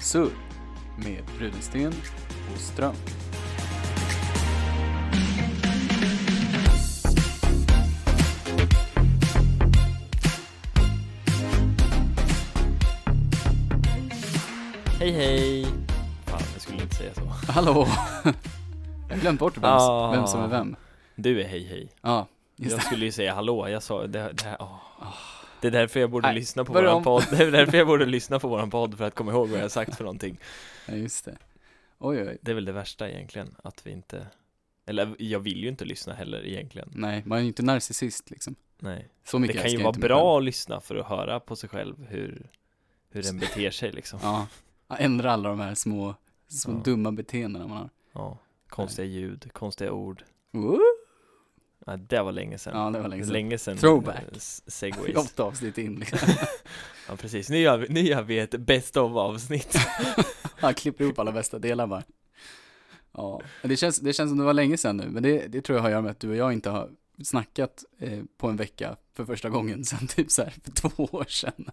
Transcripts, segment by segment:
Surr med Rudensten och Ström. Hej hej! Fan, jag skulle inte säga så. Hallå! Jag har glömt bort vem, Ah. vem som är vem. Du är hej hej. Ja, just jag det. Ah. skulle ju säga hallå, jag sa det, det här, åh. Det är därför jag borde Nej, lyssna på börja våran om. podd, det är därför jag borde lyssna på våran podd för att komma ihåg vad jag har sagt för någonting. Ja, just det. Oj, oj. Det är väl det värsta egentligen, att vi inte, eller jag vill ju inte lyssna heller egentligen. Nej, man är ju inte narcissist liksom. Nej. Så Det mycket kan ju älskar vara jag inte mig bra att lyssna för att höra på sig själv hur, hur den beter sig liksom. själv. Ja, Ja, ändra alla de här små, små Ja. dumma beteendena man har. Ja. Konstiga ljud, konstiga ord. Woo! Ja, det var länge sedan. Ja, det var länge sedan. Länge sedan. Throwback. eh, s- Segways. Åtta avsnitt in liksom. Ja precis, nu gör vi, nu gör vi ett best of avsnitt Han klipper ihop alla bästa delar bara. Ja, men det känns, det känns som det var länge sedan nu, men det, det tror jag har att göra med att du och jag inte har snackat eh, på en vecka för första gången sedan typ så här för två år sedan.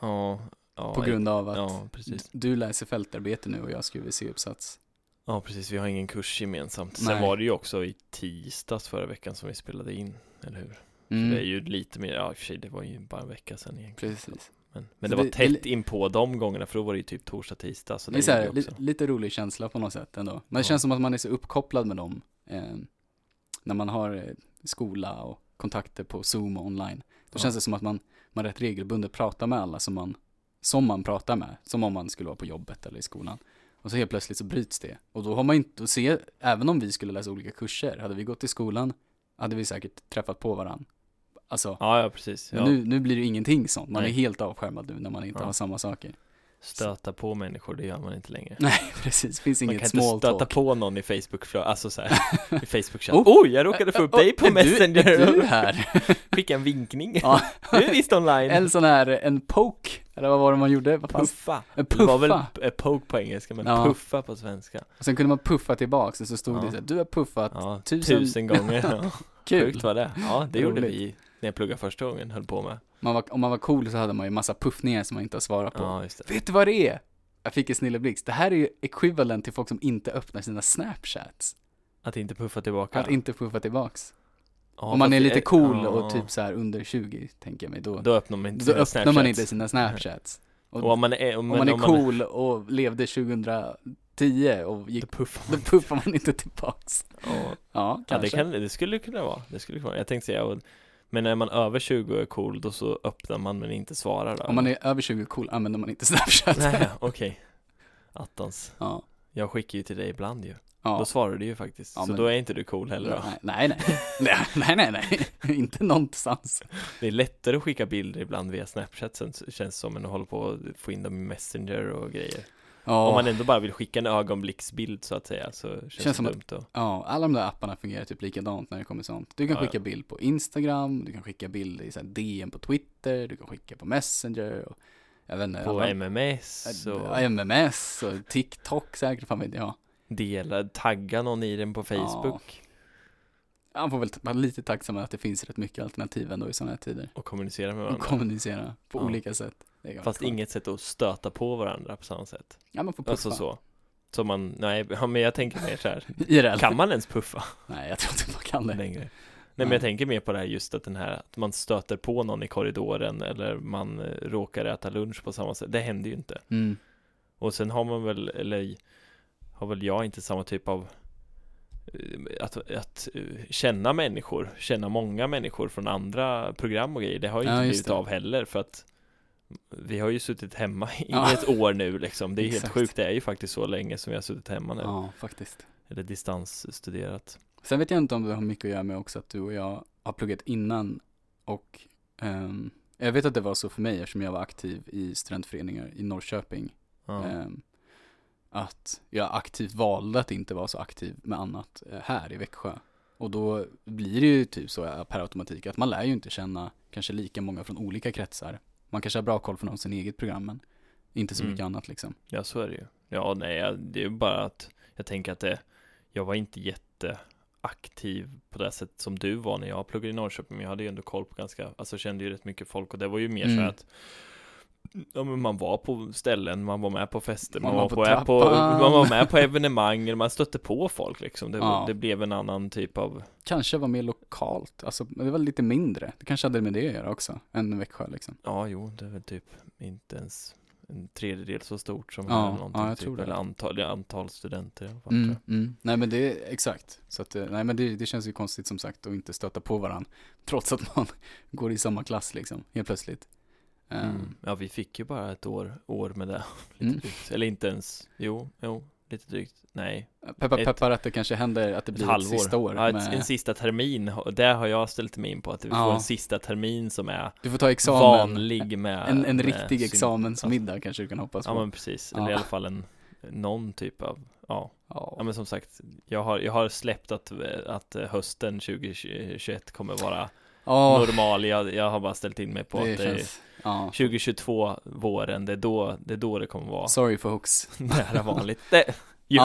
Ja, ja på grund av att Ja precis, du läser fältarbete nu och jag skriver C-uppsats. ja precis, vi har ingen kurs gemensamt Nej. Sen var det ju också i tisdags förra veckan som vi spelade in, eller hur? Mm, Det är ju lite mer, ja i och för sig det var ju bara en vecka sedan egentligen Precis. Men, men Så det var det- tätt det- inpå de gångerna för då var det ju typ torsdag, tisdag så Det det är så här, gjorde li, också lite rolig känsla på något sätt ändå. Men det Ja. känns som att man är så uppkopplad med dem eh, när man har eh, skola och kontakter på Zoom och online. Då Ja. känns det som att man, man rätt regelbundet pratar med alla som man, som man pratar med, som om man skulle vara på jobbet eller i skolan. Och så helt plötsligt så bryts det. Och då har man inte, och se, även om vi skulle läsa olika kurser, hade vi gått i skolan hade vi säkert träffat på varandra. Alltså, Ja ja precis, men ja. nu, nu blir det ingenting sånt. Man Nej. är helt avskärmad nu när man inte Ja. har samma saker. stöta på människor det gör man inte längre Nej, precis. Finns Man kan inget inte small stöta talk. på någon i Facebook, alltså så här, i Facebook chatt Oh! Oj, jag råkade få upp dig på Är du- Messenger Är du här? Skicka en vinkning, Ja. du är visst online En sån här, en poke, eller vad var det man gjorde? Vad fan? Puffa. En Det var väl puffa. eh, poke på engelska, men Ja. puffa på svenska. Och sen kunde man puffa tillbaks, och så stod Ja. det så här, du har puffat, Ja, tusen- tusen, gånger. Ja. kul. Sjukt var det. Ja, det gjorde Roligt. vi när jag pluggade första gången, höll på med. Man var, om man var cool så hade man ju massa puffningar som man inte har svarat på. Ja, just det. Vet du vad det är? Jag fick en snilleblixt. Det här är ju equivalent till folk som inte öppnar sina snapchats. Att inte puffa tillbaka. Att inte puffa tillbaks. Ja, om man fast är det lite cool ja. och typ så här under 20, tänker jag mig, då, då, Då öppnar man inte öppnar sina man Snapchats. inte sina snapchats. Och om man är, om Om man är om cool och levde 2010 och gick då puffar Då man. puffar man inte tillbaks. Ja. Ja, Ja, det, kanske. kan, det skulle kunna vara. Det skulle kunna vara. Jag tänkte säga, och, men när man är över 20 och är cool, då så öppnar man men inte svarar. Då. Om man är över 20 cool använder man inte Snapchat. Nej, okej. Attans. Ja. Jag skickar ju till dig ibland ju. Då ja. svarar du ju faktiskt. Ja, så men- då är inte du cool heller då. Nej, nej, nej, nej, nej, nej, inte någonstans. Det är lättare att skicka bilder ibland via Snapchat sen känns det som än att hålla på och få in dem i Messenger och grejer. Ja, Om man ändå bara vill skicka en ögonblicksbild så att säga så känns, Känns som det att- dumt då. ja, alla de där apparna fungerar typ likadant när det kommer sånt. Du kan Ja, ja. skicka bild på Instagram, du kan skicka bild i så här DM på Twitter, du kan skicka på Messenger och jag vet inte. På alla- MMS och Ja, MMS och TikTok säkert, fan vet jag. dela, tagga någon i den på Facebook Han får väl t- vara lite tacksam att det finns rätt mycket alternativ ändå i sådana här tider. och kommunicera med och varandra. kommunicera på Ja. olika sätt. Det är Fast skönt. inget sätt att stöta på varandra på samma sätt. Ja, man får puffa. Alltså så. Så man, nej, ja, men jag tänker mer så här. IRL. Kan man ens puffa Nej, jag tror inte man kan det. längre? Nej men Nej. jag tänker mer på det här just att den här, att man stöter på någon i korridoren eller man eh, råkar äta lunch på samma sätt. Det händer ju inte. Mm. Och sen har man väl, eller har väl jag inte samma typ av eh, att, att eh, känna människor, känna många människor från andra program och grejer, det har ju Ja, inte just blivit det. av heller för att vi har ju suttit hemma i Ja. ett år nu liksom, det är helt Exakt. sjukt, det är ju faktiskt så länge som vi har suttit hemma nu, Ja, faktiskt. eller distansstuderat. Sen vet jag inte om det har mycket att göra med också att du och jag har pluggat innan och ehm, jag vet att det var så för mig eftersom jag var aktiv i studentföreningar i Norrköping. Ja. ehm, att jag aktivt valde att inte vara så aktiv med annat eh, här i Växjö. Och då blir det ju typ så eh, per automatik att man lär ju inte känna kanske lika många från olika kretsar. Man kanske har bra koll från sin eget program men inte så Mm. mycket annat liksom. Ja, så är det ju. Ja, nej, jag- det är ju bara att jag tänker att det, jag var inte jätteaktiv på det sätt som du var när jag pluggade i Norrköping, men jag hade ju ändå koll på ganska, alltså kände ju rätt mycket folk och det var ju mer så Mm. här att ja, men man var på ställen, man var med på fester, man, Man var var, på, på ä- på, trappan. man var med på evenemang, man stötte på folk liksom. Det, Ja. det blev en annan typ av, Kanske var mer lokalt, alltså men det var lite mindre. Det kanske hade med det att göra också, än Växjö liksom. ja jo, det är väl typ inte ens en tredjedel så stort som Ja, här någonting, ja, jag typ, tror det. eller antal, antal studenter. i alla fall, tror Mm, jag. mm. Nej men det, exakt. Så att, eh, nej men det, det känns ju konstigt som sagt att inte stöta på varandra. Trots att man går i samma klass liksom, helt plötsligt. Eh, Mm. Ja, vi fick ju bara ett år, år med det. Lite Mm. drygt. Eller inte ens, jo, jo, lite drygt. Nej, Peppar Ett- peppar att det kanske händer att det ett blir ett, halvår. sista år. ja, ett, med, En sista termin, och där har jag ställt mig in på att vi får Ja. en sista termin som är du får ta examen. vanlig med En, en med riktig syn- examensmiddag kanske du kan hoppas på. Ja men precis, Ja. eller i alla fall en någon typ av, ja. Ja. ja men som sagt, jag har, jag har släppt att, att hösten 2021 kommer vara Ja, normal, jag, jag har bara ställt in mig på det att det är känns, ja. 2022, våren, det är då det, är då det kommer vara Sorry folks. nära vanligt. Det, you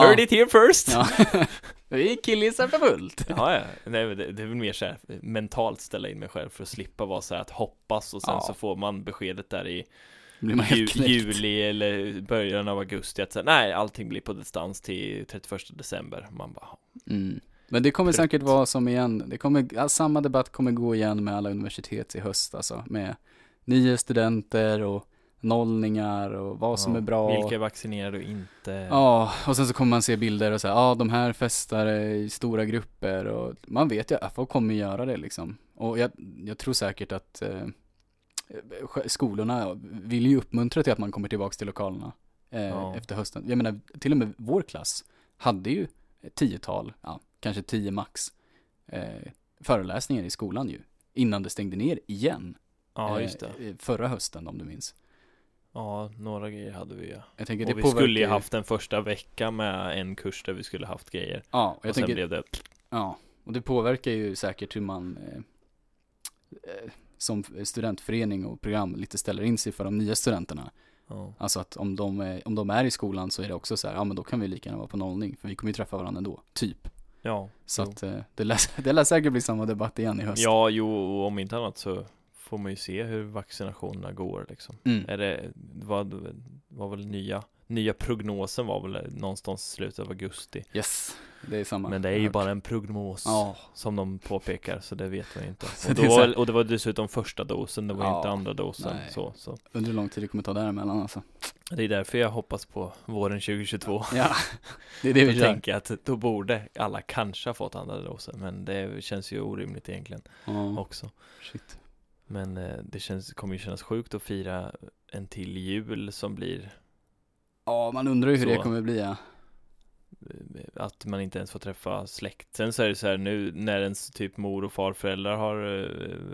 Ja. heard it here first! Ja, Ja. Vi killgissar för fullt. ja, Nej, men det, det är väl mer så här eh, mentalt ställa in mig själv för att slippa vara så här att hoppas och sen Ja. så får man beskedet där i Blir man helt ju, knäckt. juli eller början av augusti att så här, nej, allting blir på distans till 31 december. Man bara, Mm. Men det kommer Trött. säkert vara som igen, det kommer, ja, samma debatt kommer gå igen med alla universitet i höst alltså, med nya studenter och nollningar och vad som ja, är bra. Vilka är vaccinerade och inte? Ja, och sen så kommer man se bilder och säga, ja de här festar i stora grupper och man vet ju att folk kommer göra det liksom. Och jag, jag tror säkert att eh, sj- skolorna vill ju uppmuntra till att man kommer tillbaka till lokalerna eh, Ja. efter hösten. Jag menar, till och med vår klass hade ju ett tiotal, ja, kanske tio max, eh, föreläsningar i skolan ju, innan det stängde ner igen. ja eh, just det. eh, Förra hösten om du minns. Ja, några grejer hade vi ja. Jag tänker, det Och vi påverkar skulle ju ju- haft en första vecka med en kurs där vi skulle haft grejer. ja, och jag och sen tänker, blev det, Ja, och det påverkar ju säkert hur man eh, eh, som studentförening och program lite ställer in sig för de nya studenterna. ja, Alltså att om de, är, om de är i skolan så är det också så här, ja men då kan vi lika gärna vara på nollning för vi kommer ju träffa varandra ändå, typ. ja, Så Jo. att eh, det lär, det lär säkert bli samma debatt igen i höst. ja, jo, och om inte annat så får man ju se hur vaccinationerna går liksom. Mm. Är det, vad var väl nya, nya prognosen var väl någonstans i slutet av augusti. Yes, det är samma. Men det är ju bara en prognos. Ja, Som de påpekar, så det vet man ju inte. Så Och, det då är så här- var, och det var dessutom första dosen, det var Ja, inte andra dosen. nej. Så, så. undrar hur lång tid det kommer ta däremellan alltså. Det är därför jag hoppas på våren 2022. Ja, det är det Då vi gör. tänker jag att då borde alla kanske ha fått andra dosen, men det känns ju orimligt egentligen Ja, också. shit. Men eh, det känns, kommer ju kännas sjukt att fira en till jul som blir Ja, man undrar ju hur Så. det kommer bli ja. eh, att man inte ens får träffa släkt. Sen så är det så här nu när ens typ mor och farföräldrar har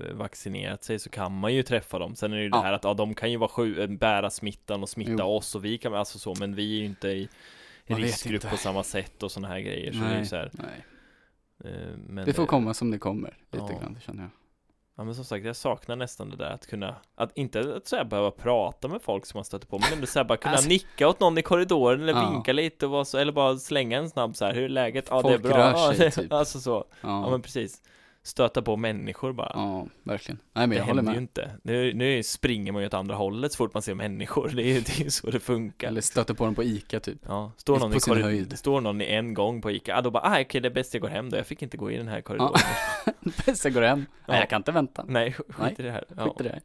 eh, vaccinerat sig så kan man ju träffa dem. Sen är det ju det Ja. här att ja, de kan ju vara sju, eh, bära smittan och smitta Jo. oss och vi kan, alltså så, men vi är ju inte i i Man vet riskgrupp inte. på samma sätt och sådana här grejer. Så det är ju Nej. så här, Nej. eh, men Det får komma som det kommer, lite Ja. grann det känner jag. Ja men som sagt, jag saknar nästan det där att kunna, att inte att så här behöva prata med folk som man stöter på, men ändå så här bara kunna Alltså- nicka åt någon i korridoren eller Ja. vinka lite och vara så, eller bara slänga en snabb så här, hur är läget? Ja det är Folk bra. rör ja, sig, det- typ. Alltså så, ja. men precis. Stöta på människor bara. Ja, verkligen. Nej men det jag håller händer ju med. inte. Nu, nu springer man ju åt andra hållet så fort man ser människor, det är ju det är ju så det funkar. Eller stöter på dem på ICA typ. Ja, står Just någon, i på sin korrid- höjd. står någon i en gång på Ica, ah, då bara, ah, okej det är bäst jag går hem då, jag fick inte gå i den här korridoren. Bäst jag går hem. Ja. Nej jag kan inte vänta. Skit Nej, skit i det här. Ja. i det. här.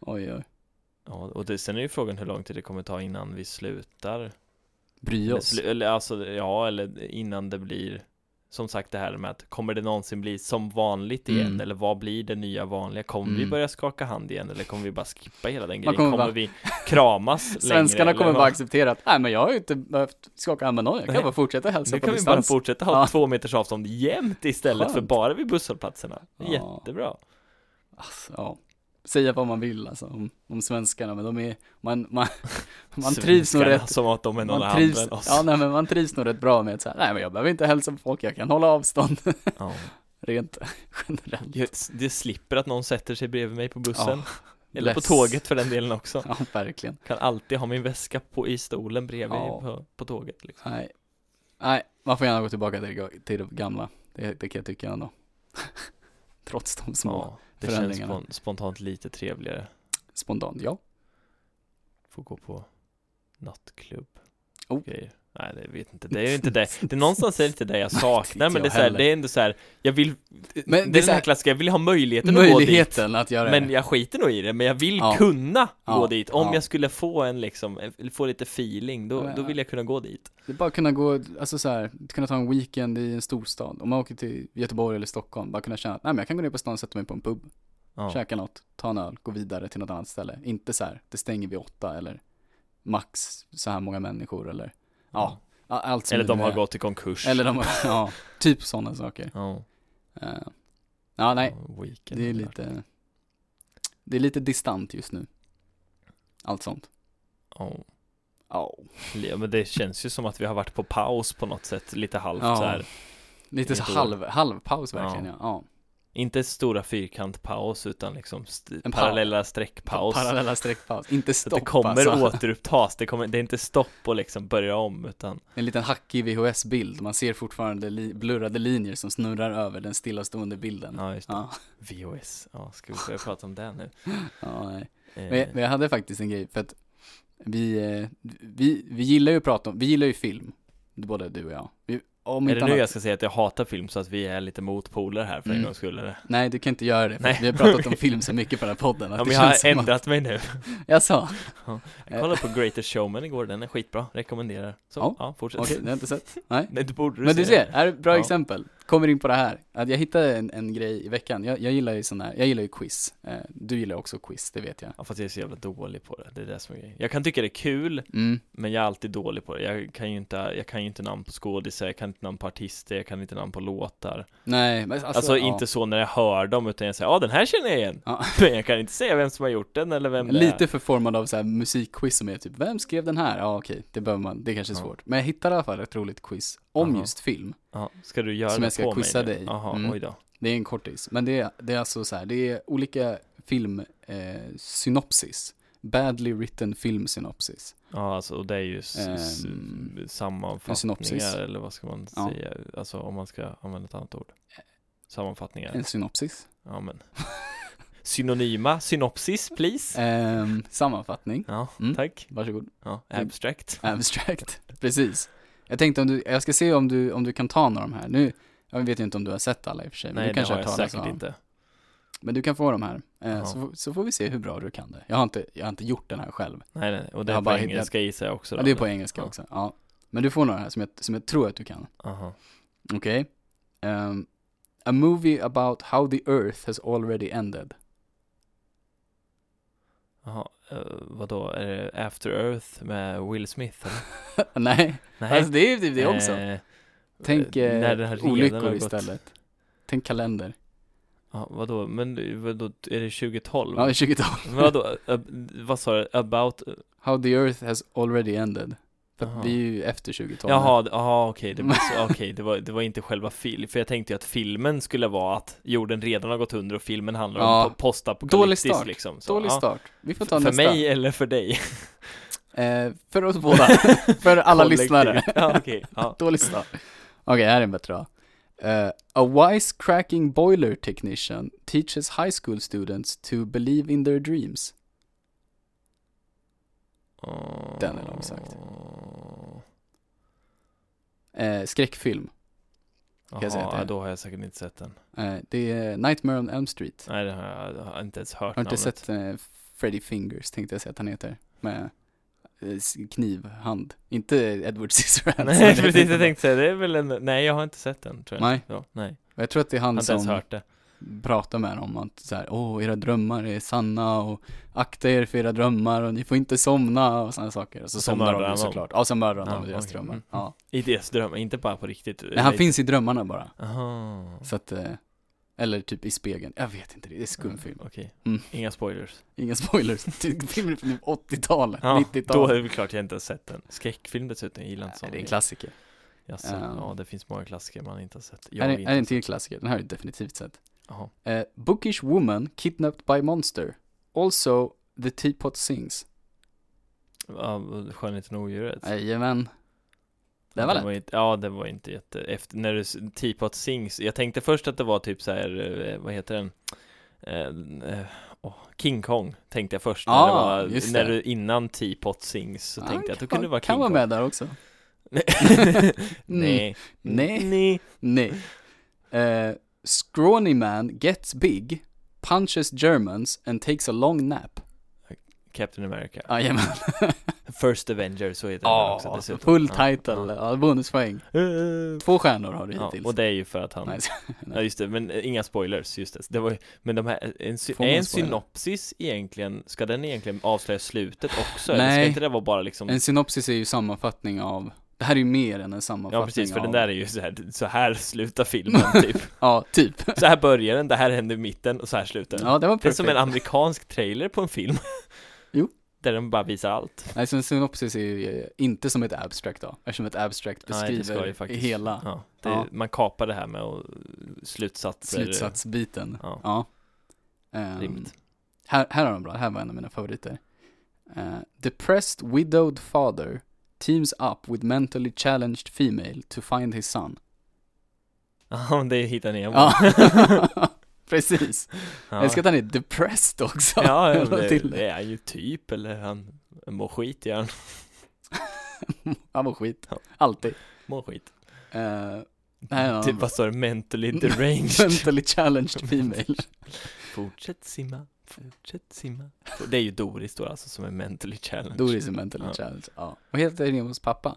Oj oj. Ja, och det, sen är ju frågan hur lång tid det kommer ta innan vi slutar. Bry Eller, oss. slu, eller alltså, ja, eller innan det blir som sagt det här med att kommer det någonsin bli som vanligt igen Mm. eller vad blir det nya vanliga? Kommer vi Mm. börja skaka hand igen eller kommer vi bara skippa hela den grejen? kommer Kommer bara- vi kramas längre? Svenskarna eller kommer vad? bara acceptera att, nej men jag har ju inte behövt skaka hand med någon, jag kan Nej. bara fortsätta hälsa Nu på kan vi bara distans. fortsätta ha Ja. två meters avstånd jämt istället för Skönt. bara vid busshållplatserna. Ja. Jättebra. Alltså, ja. Säga vad man vill alltså om, om svenskarna, men de är, man, man, man Svenskarna trivs nog rätt. Som att de är någon Man annan trivs, än oss. ja, nej, men man trivs nog rätt bra med att säga, nej men jag behöver inte hälsa på folk, jag kan hålla avstånd Ja. rent generellt. Jag, det slipper att någon sätter sig bredvid mig på bussen. eller på less. tåget för den delen också. Ja, verkligen. Kan alltid ha min väska på, i stolen bredvid Ja. på, på tåget liksom. Nej. Nej, man får gärna gå tillbaka till det, ga- till det gamla. Det, det kan jag tycka ändå. Trots de små. Ja, det känns förändringarna. spon, spontant lite trevligare Spontant, ja. Får gå på nattklubb. Oh. Grejer. Nej, det vet inte. Det är ju inte det. Det är någonstans är det inte det jag saknar, inte men det är, jag så här, heller. det är ändå så här, jag vill, det är det är så den här här- klassiska, jag vill ha möjligheten, att gå dit. Möjligheten att göra Men det. jag skiter nog i det, men jag vill Ja. kunna Ja. gå dit. Om Ja. jag skulle få en liksom, en- få lite feeling, då, Men- då vill jag kunna gå dit. Det är bara att kunna gå, alltså så här, kunna ta en weekend i en storstad. Om man åker till Göteborg eller Stockholm, bara kunna känna att nej men jag kan gå ner på stan, sätta mig på en pub, Ja. käka något, ta en öl, gå vidare till något annat ställe. Inte så här, det stänger vid åtta eller max så här många människor eller ja, a- allt som Eller det de nu har är. gått i konkurs. Eller de har, ja, typ sådana saker. Ja. Eh, ja, nej, Ja, Weekend det är och där. lite, det är lite distant just nu. Allt sånt. Ja. Ja. Ja, men det känns ju som att vi har varit på paus på något sätt, lite halvt Ja. så här. Lite så Ett år. halv, halvpaus verkligen, ja. ja. Inte stora fyrkantpaus utan liksom st- En parallella streckpaus. Parallella streckpaus. Inte så stopp att det kommer alltså. återupptas, det, kommer, det är inte stopp och liksom börja om utan En liten hackig VHS-bild. Man ser fortfarande li- blurrade linjer som snurrar över den stillastående bilden. ja, just det. Mm. Ja. VOS, ja, ska vi börja prata om det nu? Ja, nej. Eh, Men, jag, men jag hade faktiskt en grej för att vi, eh, vi, vi gillar ju att prata om, vi gillar ju film. Både du och jag. Vi, om är inte det nu annat- jag ska säga att jag hatar film så att vi är lite motpoler här för en Mm. gångs skull? eller? Nej, du kan inte göra det. För Nej. att vi har pratat om film så mycket på den här podden. Att Ja, det men jag har känns som ändrat mig nu. Att, jag sa, Jag kollade på Greater Showman igår, den är skitbra, rekommenderar. Så, ja, Ja, fortsätt. okej, det har jag inte sett. Nej. Nej, du borde Men du säga ser, här är ett bra Ja. exempel. Kommer in på det här. Att jag hittade en, en grej i veckan. Jag, jag gillar ju sån här, jag gillar ju quiz. Eh, Du gillar också quiz, det vet jag. Ja fast jag är så jävla dålig på det, det är det som är grejen. Jag kan tycka det är kul, Mm. men jag är alltid dålig på det. Jag kan ju inte, jag kan ju inte namn på skådisar, jag kan inte namn på artister, jag kan inte namn på låtar. Nej, men alltså, Alltså, inte ja. så när jag hör dem, utan jag säger ja den här känner jag igen. Ja. Men jag kan inte säga vem som har gjort den eller vem det Lite förformad av så här musikquiz som är typ, vem skrev den här? Ja okej, det behöver man, det kanske är Ja. svårt. Men jag hittade i alla fall ett roligt quiz om Aha. just film. är. Ja, ska du göra Som det jag ska på mig quizza nu? dig. Jaha, Mm. oj då. Det är en kortis, men det är, det är alltså så här, det är olika filmsynopsis. Badly written filmsynopsis. Ja alltså, och det är ju s- s- Ehm, sammanfattningar synopsis. eller vad ska man Ja. säga? Alltså om man ska använda ett annat ord. Sammanfattningar. En synopsis. Ja men. Synonyma, synopsis please. Ehm, sammanfattning. Ja, Mm. tack. Varsågod. Ja, Mm. abstract. Abstract. Precis. Jag tänkte om du, jag ska se om du, om du kan ta några av de här. Nu, jag vet ju inte om du har sett alla i och för sig. men Nej, du det kanske har talat jag säkert om. inte. Men du kan få de här, eh, Ja. så, får- så får vi se hur bra du kan det. Jag har inte, jag har inte gjort den här själv. Nej, nej, och det Jag är har bara på engelska gissar jag också. Ja, då, det är eller? på engelska Ja. också. Ja. Men du får några här som jag, som jag tror att du kan. Aha. Okej? Ehm, a movie about how the earth has already ended. Jaha, uh, vadå, är det After Earth med Will Smith? eller? Nej, Nej, alltså det är ju typ det också. eh, Tänk eh, när det här eh, redan har olyckor gått- istället. Tänk kalender. Ja, vadå, men eh, vadå, är det 2012? Ja, 2012. Men vadå, eh, vad sa du, about? eh, How the earth has already ended. För Jaha. att vi är ju efter 2012. Jaha, d- jaha okej, det, var så- okej, det, var, det var inte själva film, för jag tänkte ju att filmen skulle vara att jorden redan har gått under och filmen handlar Ja. om po- postapokalyptiskt Dålig start. liksom. Så, Dålig ja. start. Vi får ta För nästa. mig eller för dig? Eh, för oss båda. för alla Kollektivt. lyssnare. ja, okej, ja. Dålig start. Okej, här är en bättre då. Eh, a wisecracking boiler technician teaches high school students to believe in their dreams. Den är långsökt. Eh, skräckfilm. Jaha, jag säga att det är. ja, då har jag säkert inte sett den. Eh, det är Nightmare on Elm Street. Nej, det har jag, jag har inte ens hört Har du inte namnet. sett eh, Freddy Fingers, tänkte jag säga att han heter. Med eh, s- knivhand. Inte Edward Scissorhands. Nej, precis, jag tänkte säga, det är väl en, nej jag har inte sett den tror jag. Nej. Ja, nej. Jag tror att det är Jag har han inte ens som hört det. pratar med dem att så här, åh, era drömmar är sanna och akta er för era drömmar och ni får inte somna och sådana saker. Och så, Och så somnar mördar de han ju dem. såklart. Ja, så mördar han Ja, dem i deras okej. drömmar. Mm. Ja. I deras drömmar, inte bara på riktigt. Men han finns i drömmarna bara. Aha. Så att, eh, eller typ i spegeln. Jag vet inte, det är skum film. Okej. Mm. Inga spoilers. Inga spoilers. Typ Filmen från 80-talet, Ja, då är 90-talet. det väl klart jag inte har sett den. Skräckfilm dessutom, jag gillar inte Nej, sånt. Det är en klassiker. Jaså, Ehm. Ja, det finns många klassiker man inte har sett. Jag Här har är, här är en inte. till klassiker, den här har jag definitivt sett. Jaha. Eh, Bookish woman kidnapped by monster. Also, the teapot sings. Ja, Skönheten och odjuret. Jajamän. Det var den lätt. var inte, Ja, det var inte jätte, efter, när du, s- Teapot Sings, jag tänkte först att det var typ så här, eh, vad heter den? Eh, eh, Åh, King Kong tänkte jag först när, Ja, det var, Ah, just när det. du innan Teapot Sings så Ja, tänkte jag att kan då kunde det vara King Kan vara Kong med där också. Mm. Nej Nej. Nej Nej. Eh, scrawny man gets big, punches Germans and takes a long nap. Ah, Captain America Jajamän. First Avenger så heter den Ja, också dessutom Ah, full Ja, title. ja. Ja, bonuspoäng. Eh, Två stjärnor har du Ja, hittills. och det är ju för att han Nej, så- Ja just det, men eh, inga spoilers, just det. det var, ju- men de här, en, sy- Får är man en spoila? synopsis egentligen, ska den egentligen avslöja slutet också? Eller ska Nej. inte det vara bara liksom, En synopsis är ju sammanfattning av, det här är ju mer än en sammanfattning ja precis, för av, den där är ju så här, så här slutar filmen typ. Ja, typ. Så här börjar den, det här händer i mitten och så här slutar den. Ja, det var det är perfekt. som en amerikansk trailer på en film. Jo. Där den bara visar allt. Nej, så en synopsis är ju eh, inte som ett abstract då, eftersom ett abstract Nej, det beskriver ska ju faktiskt- hela Ja, det, Ja. Man kapar det här med och slutsatser. slutsatsbiten. Ja, Ja. Ehm, rimligt. här, här har de bra, det här var en av mina favoriter. Eh, depressed widowed father teams up with mentally challenged female to find his son. Ja, det hittar ni Ja, precis. Ja. Jag älskar att han är depressed också. Ja, ja Jag la det, till det är han ju typ, eller han mår skit gör han. Han mår skit. Ja. Alltid. Mår skit. Eh, Nej, ja. Typ vad står det? Mentally deranged. mentally challenged female. fortsätt simma, fortsätt simma. Det är ju Doris då alltså som är mentally challenged. Doris är mentally Ja. challenged. Ja. Vad heter Nemos pappa?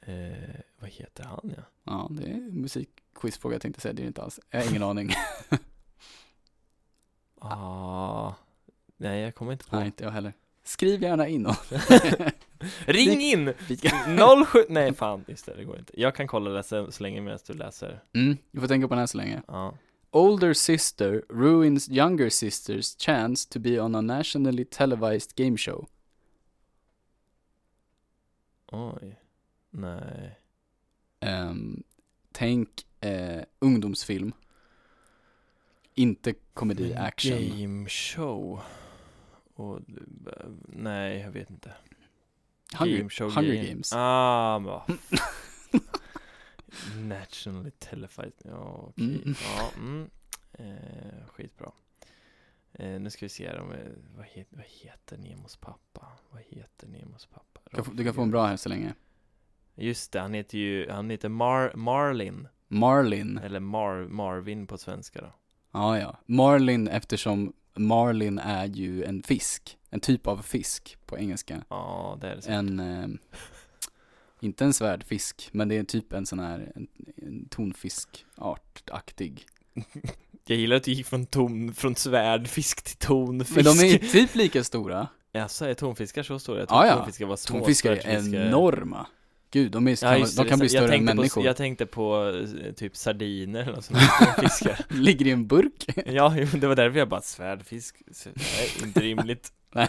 Eh, vad heter han ja? Ja, det är en musikquizfråga jag tänkte säga, det är det inte alls. Jag har ingen aning. Ah, nej jag kommer inte på. Nej, inte jag heller. Skriv gärna in och Ring in! vi ska... 07, nej fan, just det, det går inte. Jag kan kolla det sen, så länge medan du läser. Mm, du får tänka på den här så länge. Ja. Older sister ruins younger sisters chance to be on a nationally televised game show. Oj. Nej. Ehm, tänk eh, ungdomsfilm. Inte komedi, Men action. Game show. Och, eh, nej, jag vet inte. Hunger, Game show Hunger game. Games. Ah, men vad Nationally televised, ja okej, Mm. ja, mm. Eh, skitbra eh, Nu ska vi se här om, eh, vad, he, vad heter Nemos pappa? Vad heter Nemos pappa? Du kan få- Du kan få en bra här så länge. Just det, han heter ju, han heter Mar, Marlin Marlin. Eller Mar, Marvin på svenska då Ja, ja. Marlin eftersom Marlin är ju en fisk. En typ av fisk på engelska. Ja, det är det så. En, eh, inte en svärdfisk, men det är typ en sån här en, en tonfiskartaktig. Jag gillar att du gick från ton, från svärdfisk till tonfisk Men de är ju typ lika stora. Jaså, är tonfiskar så stora? Jag tror Ja, ja. tonfiskar var små Tonfiskar är svärdfiskar- enorma. Gud, de, är, Ja, kan, just det, de kan bli jag större än tänkte människor. På, jag tänkte på eh, typ sardiner eller något sånt där, fiskar. Ligger i en burk. Eh, Ja, jo, det var därför jag bara svärdfisk, så- nej, inte rimligt. Nej.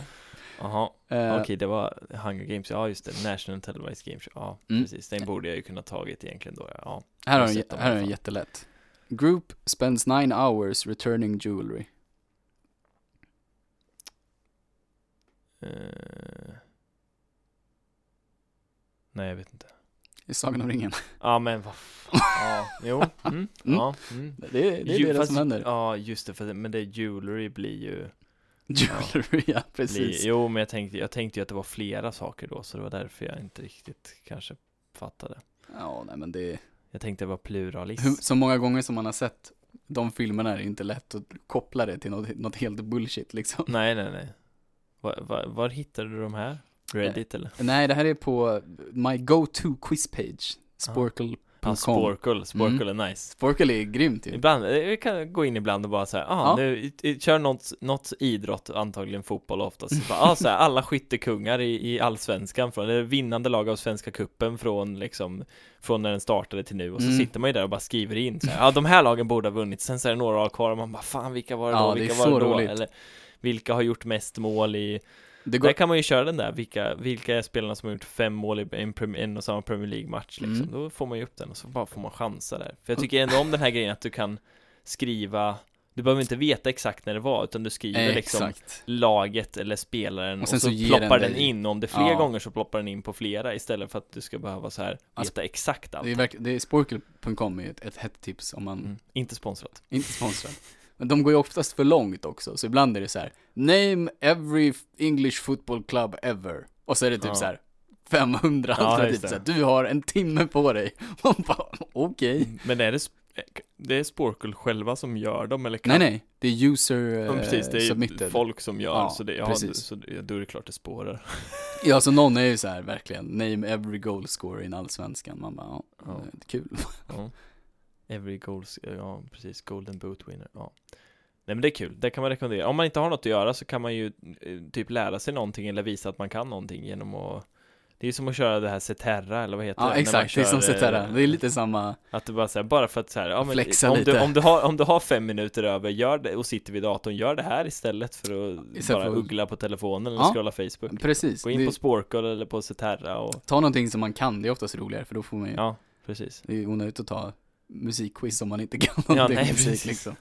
Jaha, Eh, okej det var Hunger Games, ja just det, National Televised Games, ja Mm. precis, den borde jag ju kunna tagit egentligen då, ja. Här Jag har har den, sett dem i här har alla den fall. jättelätt. Group spends nine hours returning jewelry. Eh, Nej, jag vet inte. I Sagan om ringen. Ja, men vad fan, ja, jo, mm, Mm. ja, mm. Det, är- det Ju- är det fast- som händer. Ja, just det, för, det- men det jewelry blir ju Jewelry, ja Bli, precis. jo, men jag tänkte, jag tänkte ju att det var flera saker då, så det var därför jag inte riktigt kanske fattade. Ja, nej men det är, Jag tänkte det var pluralis. hur- så många gånger som man har sett de filmerna är det inte lätt att koppla det till något, något helt bullshit liksom. nej, nej, nej. Var, var, var hittade du de här? Reddit eller? Nej, det här är på my go-to quiz page, Sporkle.com. Ah, Sporkle, Sporkle Mm. är nice. Sporkle är grymt ju. Ibland, eh, vi kan gå in ibland och bara så här, ah, typ. Ja. nu i- i- kör något, något idrott, antagligen fotboll oftast. Så bara, ah, så här, alla skyttekungar i, i allsvenskan, från, eller vinnande lag av svenska kuppen från liksom, från när den startade till nu. Och så Mm. sitter man ju där och bara skriver in, så här, ah, de här lagen borde ha vunnit, sen så är det några lag kvar och man bara, fan vilka var det Ja, då, det vilka är var så det då? roligt. Eller, vilka har gjort mest mål i... Det Där går, kan man ju köra den där, vilka, vilka är spelarna som har gjort fem mål i en, prem- en och samma Premier League-match liksom. Mm. Då får man ju upp den och så bara får man chansa där. För jag tycker ändå om den här grejen att du kan skriva, du behöver inte veta exakt när det var, utan du skriver liksom Eh, exakt. laget eller spelaren och, Och sen så, så ger ploppar den den dig- in. Om det är fler Ja. gånger så ploppar den in på flera istället för att du ska behöva så här Alltså, veta exakt allt. Det är, verk, det är Sporkle.com är ett, ett hett tips om man Mm. Inte sponsrat. inte är sponsrad. Men de går ju oftast för långt också, så ibland är det så här: Name every f- English football club ever. Och så är det typ Ja. så här 500 Ja, alternativ, just det. så här, du har en timme på dig. Man bara, okej. Men är det, sp- det är Sporkle själva som gör dem eller kan Nej, nej, det är user Ja, men eh, precis, det är ju submitted. folk som gör Ja, så, det, ja, precis. så det, då är det klart det spårar. Ja, så någon är ju så här verkligen, name every goal scorer in allsvenskan. Man bara, ja, Ja. det är kul. Ja. Every goals, ja precis, golden boot winner, ja. Nej men det är kul, det kan man rekommendera. Om man inte har något att göra så kan man ju eh, typ lära sig någonting eller visa att man kan någonting genom att Det är ju som att köra det här Ceterra eller vad heter det? Ja, När man exakt, det är kör, som Cetera. eh, Det är lite samma, Att du bara säger bara för att så här, ja, men Flexa om, du, lite. om, du har, om du har fem minuter över gör det, och sitter vid datorn, gör det här istället för att Istället bara för att- uggla på telefonen eller Ja. scrolla Facebook. precis. Gå in Det- på Sporkle eller på Ceterra och Ta någonting som man kan, det är oftast roligare för då får man ju, Ja, precis. det är ju onödigt att ta musikquiz om man inte kan Ja, någonting nej, ja, musik precis. liksom.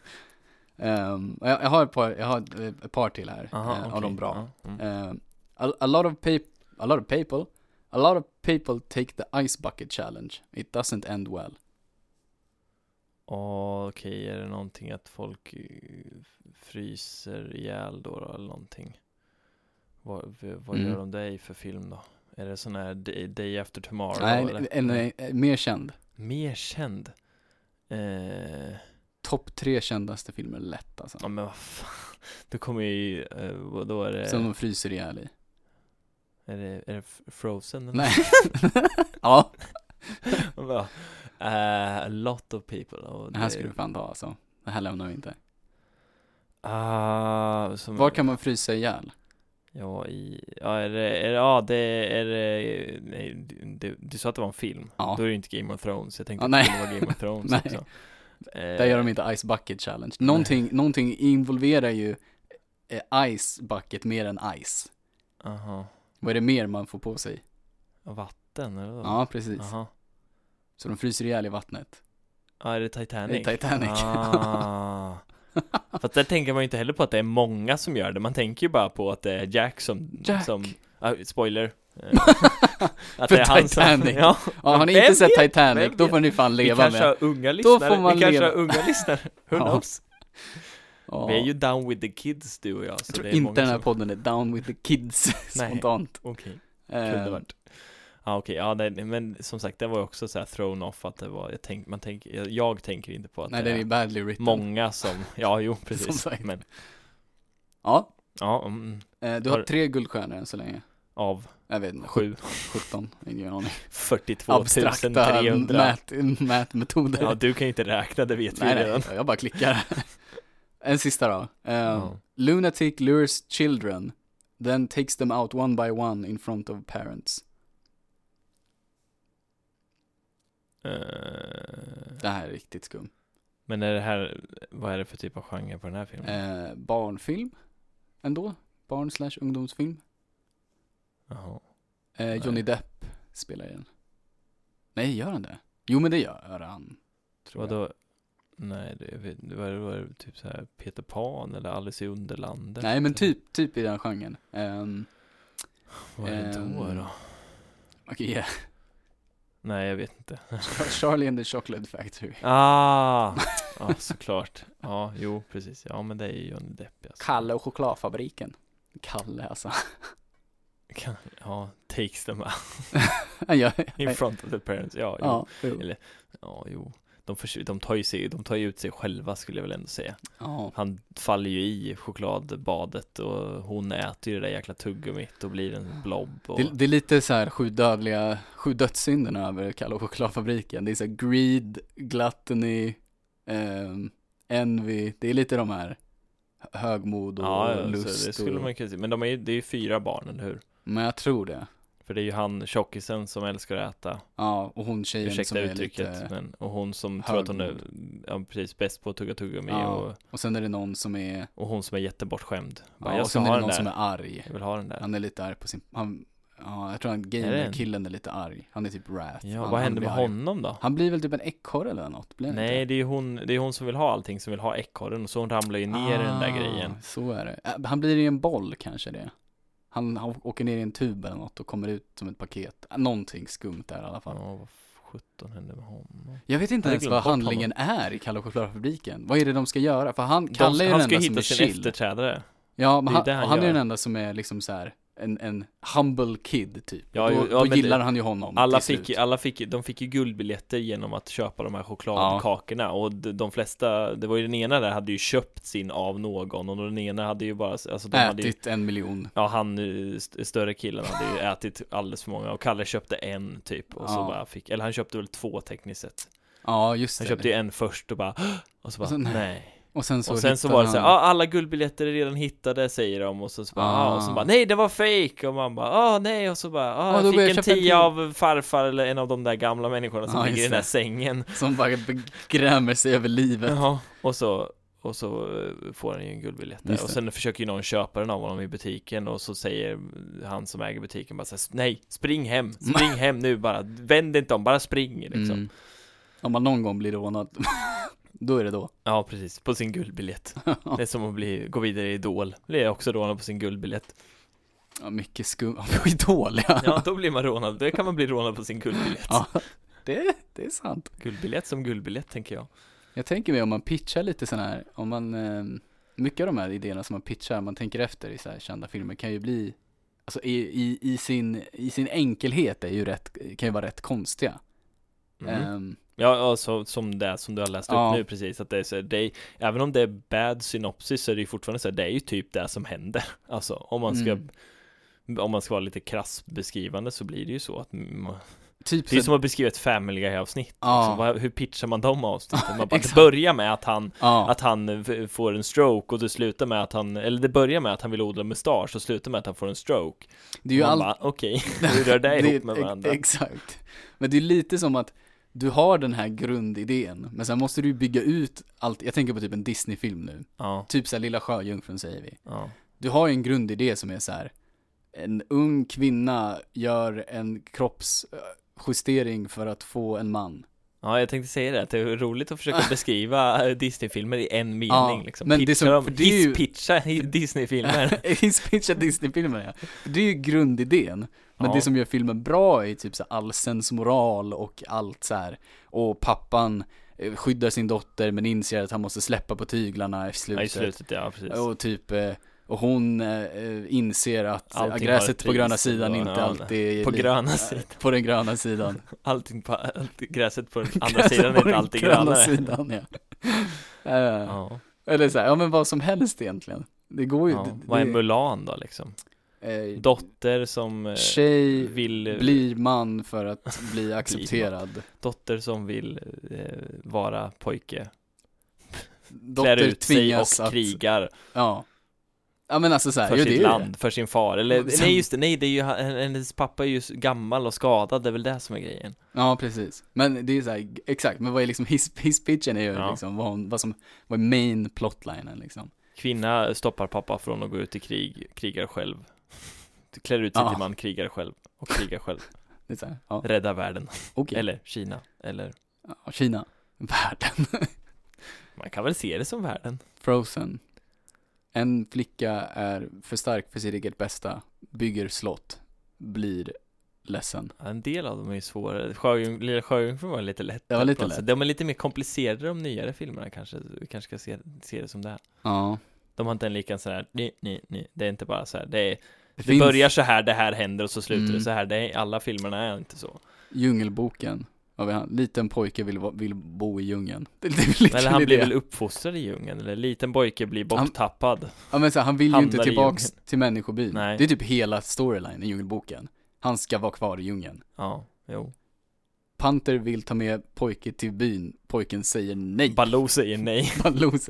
Ehm, och jag, jag har ett par, jag har ett- ett par till här, Aha, eh, okej. av de bra. Ja, mm. Ehm, a, a lot of people, a lot of people, a lot of people take the ice bucket challenge. It doesn't end well. Åh, Okej, är det någonting att folk eh, fryser ihjäl då, då eller någonting? Vad, v- vad Mm. gör de dig för film då? Är det sån här Day, day After Tomorrow? Nej, eller? en, en, en, mer känd. Mer känd? Eh, Topp tre kändaste filmer lätt alltså. ja men vad fan. Då kommer ju, eh, vad då är det, Som de fryser ihjäl i. är det, är det F- Frozen? eller? Nej. ja, Vad? Eh, a lot of people. Och det här det- skulle du fan ta alltså. Det här lämnar vi inte. Ah, som, Var kan man frysa ihjäl? Ja, i, ja, är det, är det, ja, det är det, nej, du, du sa att det var en film. Ja. Då är det inte Game of Thrones. Jag tänkte Ja, att nej. det var Game of Thrones Nej. också. Där Eh. gör de inte Ice Bucket Challenge. Någonting, någonting involverar ju eh, Ice Bucket mer än Ice. Eh, Aha. Vad är det mer man får på sig? Vatten eller vad? Ja, precis. Aha. Så de fryser ihjäl i vattnet. Ja, är det Titanic? I Titanic. Ah. Fast där tänker man ju inte heller på att det är många som gör det. Man tänker ju bara på att det är Jack som... Jack! Som, ah, spoiler. Eh, att För som... Titanic. Ja. ja, har ni vem inte sett vet? Titanic, Vem då vet? får ni fan Vi leva kanske med. har unga lyssnare. får man Vi kanske leva. har unga lyssnare. Who Ja. knows? Ja. Vi är ju down with the kids du och jag. jag tror inte den här podden är down with the kids spontant. Okej, kunde Eh, varit. Ja okej, ja nej, men som sagt det var ju också så här thrown off att det var, jag, tänk, man tänk, jag, jag tänker inte på att Ehm, nej, det den är är badly written. många som, ja jo Som precis. sagt. Men, Ja, ja, mm, eh, du Har- har tre guldstjärnor än så länge. av Jag vet inte, sju 17, ingen aning. 42 Abstrakta 300. mät, mätmetoder. Ja du kan ju inte räkna, det vet nej, vi redan. nej, jag bara klickar. en sista då. Eh, Ja. Lunatic lures children, then takes them out one by one in front of parents. Eh, Det här är riktigt skum. men är det här, vad är det för typ av genre på den här filmen? Eh, barnfilm ändå. Barn slash ungdomsfilm. Jaha. Eh, Johnny Nej. Depp spelar i den. Nej, gör han det? Jo, men det gör han. Tror jag. Vadå? Nej, det, jag vet, det var, det var typ så här Peter Pan eller Alice i Underlandet. Nej, men typ, typ i den genren. Um, Vad är det då ehm, då? Okej, yeah. Nej, jag vet inte. Charlie and the Chocolate Factory. Ah! Ja, såklart. Ja, jo, precis. Ja, men det är ju Johnny Depp. Alltså. Kalle och chokladfabriken. Kalle alltså. Kan- Ja, takes them out Han gör, in front of the parents. Ja, jo. Ja, ja, jo. Eller- jo. De, försö- de, tar ju sig, de tar ju ut sig själva skulle jag väl ändå säga. ja. Han faller ju i chokladbadet och hon äter ju det där jäkla tuggummit och blir en blob. Och... Det, det är lite så här sju dödliga, sju dödssynderna över Kalle och chokladfabriken. Det är så här greed, gluttony, ehm, envy. Det är lite de här högmod och Ja, ja lust. så det skulle och, man kunna säga. Men de är ju, det är ju fyra barn, eller hur? Men jag tror det. För det är ju han tjockisen som älskar att äta, Ja, och hon tjejen ursäkta som är uttrycket, lite... men, och hon som tror att hon är ja, precis bäst på att tugga tuggummi Ja. och, Och sen är det någon som är... och hon som är jättebortskämd. Bara, Ja, jag och ska sen är ha det den någon där, som är arg. jag vill ha den där. Han är lite arg på sin... Han, ja, jag tror han det en- gamer-killen är lite arg. Han är typ wrath. Ja, han, vad han händer blir med arg. honom då? Han blir väl typ en ekorre eller något? Blir han Nej, inte? det är ju hon, det är hon som vill ha allting, som vill ha ekorren, och så hon ramlar ju ner i den där Ah, grejen. Så är det. Äh, Han blir i en boll kanske det. Han, han åker ner i en tub eller något och kommer ut som ett paket. Äh, Någonting skumt där i alla fall. Ja, vad sjutton hände med honom? Jag vet inte Jag ens hade glömt vad bort handlingen är i Kalle och chokladfabriken. Vad är det de ska göra? För han, De, han Kalle ska är den ju enda som är hitta sin chill. efterträdare. Ja, men Det är han, det han, han är gör. den enda som är liksom så här en, en humble kid typ. Ja, då jo, ja, då men gillar det- han ju honom Alla till fick, slut. alla fick, de fick ju guldbiljetter genom att köpa de här chokladkakorna och de, de flesta, det var ju den ena där hade ju köpt sin av någon och den ena hade ju bara, alltså de hade ju, Ätit en miljon. ja han eh, st- större killen hade ju ätit alldeles för många och Kalle köpte en typ och så Ja. bara fick, eller han köpte väl två tekniskt sett. Ja, just Han det. köpte ju en först och bara, och så bara, Och så, Alltså, nej. nej. Och sen så, och sen så hittar var det så här, han- ah, alla guldbiljetter är redan hittade säger de och så, så bara, ah. Ah. och så bara nej det var fake och man bara ah nej och så bara ah, Ja, då jag går jag fick en köpa en tia till. av farfar eller en av de där gamla människorna som Ja, ligger i just den här det. sängen. Som bara grämer sig över livet. Jaha. Och så och så eh, får han ju en guldbiljett där. Just och det. sen försöker ju någon köpa den av honom i butiken och så säger han som äger butiken bara så här, nej spring hem, spring hem nu bara, vänd inte om, bara spring liksom. Mm. Om man någon gång blir rånad, då är det då. Ja precis, på sin guldbiljett. Det är som att bli, gå vidare i Idol, det är också rånad på sin guldbiljett. Ja, mycket skum, skit dåliga. Ja, då blir man rånad. Då kan man bli rånad på sin guldbiljett. Ja. Det, det är sant. Guldbiljett som guldbiljett, tänker jag. Jag tänker mig om man pitchar lite sådana här, om man, eh, mycket av de här idéerna som man pitchar, man tänker efter i så här kända filmer kan ju bli, alltså i, i, i, sin, i sin enkelhet är ju rätt, kan ju vara rätt konstiga. Mm. Ehm, Ja, ja så, som det som du har läst Ja. upp nu precis. Att det är så, här, det är, även om det är bad synopsis så är det ju fortfarande så här, det är ju typ det som händer. Alltså, om man ska Mm. Om man ska vara lite krass beskrivande så blir det ju så att man, typ Det är så, som att beskriva ett Family Guy-avsnitt Ja. liksom. Vad- Hur pitchar man de avsnitten? Man bara, det Exakt. börjar med att han ja, Att han eh, får en stroke och det slutar med att han Eller det börjar med att han vill odla mustasch och slutar med att han får en stroke det är ju man allt bara, okej, hur rör det ihop med ex- varandra? Exakt. Men det är lite som att du har den här grundidén, men sen måste du ju bygga ut allt. Jag tänker på typ en Disney-film nu, Ja, typ så här Lilla Sjöjungfrun säger vi. ja, Du har ju en grundidé som är så här, en ung kvinna gör en kroppsjustering för att få en man. ja, jag tänkte säga det, att det är roligt att försöka beskriva eh, Disney-filmer i en mening Ja, liksom men det är Pitcha som- dem- för det är ju- Hisspitcha hi- Disney-filmer Inspirerad Disney-filmer ja. Det är ju grundidén. Men Ja. det som gör filmen bra är typ så här all sensmoral och allt så här. Och pappan eh, skyddar sin dotter men inser att han måste släppa på tyglarna i Ja, i slutet. slutet ja, precis och typ, eh, och hon eh, eh, inser att Allting har Allting gräset ett på gröna pris sidan och- inte ja, alltid är På li- gröna sidan, på den gröna sidan. allting på, allt, gräset på den andra Gräset sidan på är inte den alltid gröna grönare sidan ja. Eh, Ja, Eller så här, ja men vad som helst egentligen. Det går ju. ja. det- Vad är det- Mulan då liksom? eh, Dotter som eh, Tjej vill eh, blir man för att bli accepterad. Dotter som vill eh, vara pojke Klär Dotter ut sig tvingas och att... krigar Ja. Ja men alltså såhär, för jo det är sitt ju land, det. för sin far. Eller Och sen- nej just det, nej det är ju, han- hennes pappa är ju s- gammal och skadad, det är väl det som är grejen. Ja precis. Men det är såhär, exakt, men vad är liksom his, his pitchen är ju Ja. liksom vad, hon, vad som, vad är main plotlinen liksom. Kvinna stoppar pappa från att gå ut i krig, krigar själv. Klär ut sig Ja. till man, krigar själv. Och krigar själv. Det är såhär, ja, Rädda världen. okej. Eller Kina. Eller, Ja, Kina, världen, man kan väl se det som världen. Frozen. En flicka är för stark för sitt eget bästa, bygger slott, blir ledsen. Ja, En del av dem är ju svårare. Sjöjung, Lilla Sjöjungfrun var lite lätt. Det var lite på något lätt. sätt. De är lite mer komplicerade de nyare filmerna kanske. Vi kanske ska se, se det som det är. Ja. De har inte en lika sån här, nej, nej, nej. Det är inte bara så här, det är Det, Det börjar så här, det här händer och så slutar Mm. det så här. Det är, alla filmerna är inte så. Djungelboken. Vad vi har- Liten pojke vill, va- vill bo i djungeln. Det, det är lite Eller han det. blir väl uppfostrad i djungeln, eller liten pojke blir Han- borttappad. Ja men så, här, han vill ju hamnar inte i tillbaks djungeln. till människobyn. Nej. Det är typ hela storylinen i Djungelboken. Han ska vara kvar i djungeln. Ja, jo. Panter vill ta med pojke till byn. Pojken säger nej. Baloo säger nej. Baloo. Mm,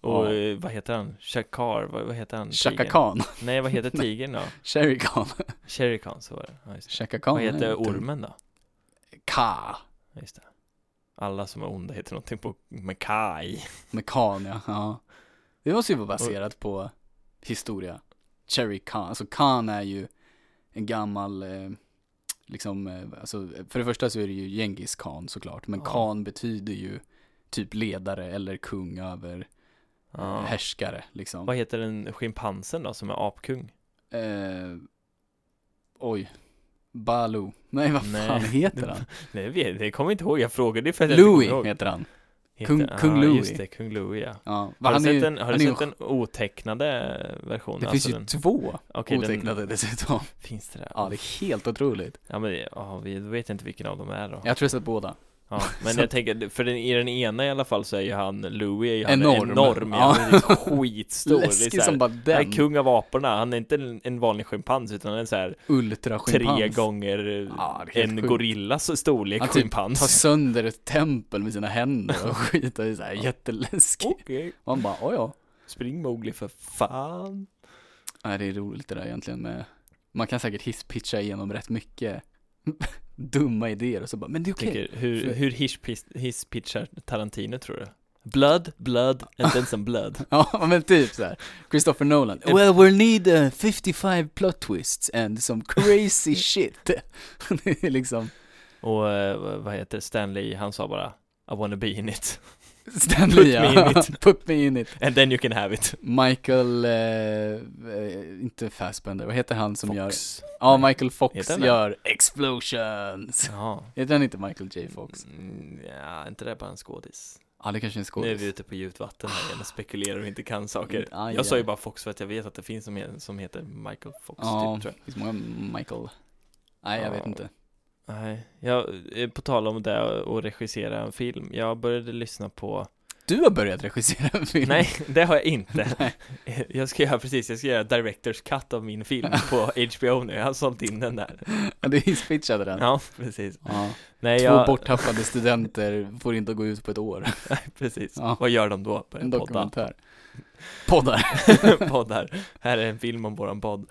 Och Ja. eh, vad heter han? Shakar, vad, vad heter han? Chaka Tigern? Khan. Nej, vad heter tigern då? Sherry Khan. Sherry Khan, så var det. Ja, just det. Chaka Khan. Vad är heter inte- ormen då? Ka. Ja, Just det. Alla som är onda heter någonting på, med Kai. Med Khan ja. ja. Det måste ju vara baserat på historia. Cherry Khan. Alltså Khan är ju en gammal, eh, liksom, eh, alltså, för det första så är det ju Genghis Khan såklart. Men Ja. Khan betyder ju typ ledare eller kung över Ja. härskare liksom. Vad heter den schimpansen då som är apkung? Eh, oj. Baloo. Nej, vad Nej. fan heter han? Nej, jag vet, jag kommer inte ihåg, jag frågade ju för att jag inte kommer Louis ihåg. heter han. Heter- Kung- Kung Ja, Louis. just det, Kung Louis ja. Ja, Har han du är sett, ju- den, har han du är ju- sett den otecknade versionen? Det Alltså finns ju den- två okej, den- otecknade dessutom. Finns det där? Ja, det är helt otroligt. Ja men det- ja, vi då vet jag inte vilken av dem är då. Jag tror jag sett båda. Ja, men Så- jag tänker, för den, i den ena i alla fall så är ju han, Louis är ju han Enorm. enorm, enorm ja. Ja. han är skitstor. det är Läskig så här, som bara han den. är kung av aporna, han är inte en, en vanlig schimpans utan han är så här tre Ultraschimpans. gånger eh, Ja, det är helt en sjukt. gorillas storlek Han typ Ta schimpans. sönder ett tempel med sina händer och skit. Det är så här jätteläskigt. Okej, Man bara, oj ja. spring Mowgli för fan. Nej, det är roligt det där egentligen med, man kan säkert hisspitcha igenom rätt mycket dumma idéer och så bara, men det är okej. Tänker, hur, För- hur hisspis- hisspitchar Tarantino tror du? Blood, blood, and then some blood. Ja, men typ så här. Christopher Nolan. Well, we'll need uh, 55 plot twists and some crazy shit. det är liksom Och eh, vad heter det? Stanley, han sa bara I wanna be in it. Stanley. Put me in it. Put me in it. And then you can have it. Michael, eh, eh, inte Fassbender, vad heter han som gör? Fox. Ja, Michael Heter Fox han det? gör Explosions. Ja. Heter han inte Michael J Fox? Mm, ja, inte det bara en skådis. Ja, det kanske är en Nu är vi skådis. Mm, ute på djupt vatten här igen och spekulerar och inte kan saker. Aj, jag sa ju aj. bara Fox för att jag vet att det finns som, he- som heter Michael Fox Ja, typ, tror jag. det finns många Michael. Nej, jag Ja. vet inte. Nej, jag, eh, på tal om det och regissera en film. Jag började lyssna på Du har börjat regissera en film. Nej, det har jag inte. jag ska göra precis, jag ska göra Directors Cut av min film på HBO nu. Jag har sålt in den där. Ja, Du hisspitchade den. Ja, precis. Ja. Nej, Två jag... borttappade studenter får inte gå ut på ett år. Precis. Ja. Vad gör de då? En Börjar podda. dokumentär. Poddar. Poddar. Här är en film om våran podd.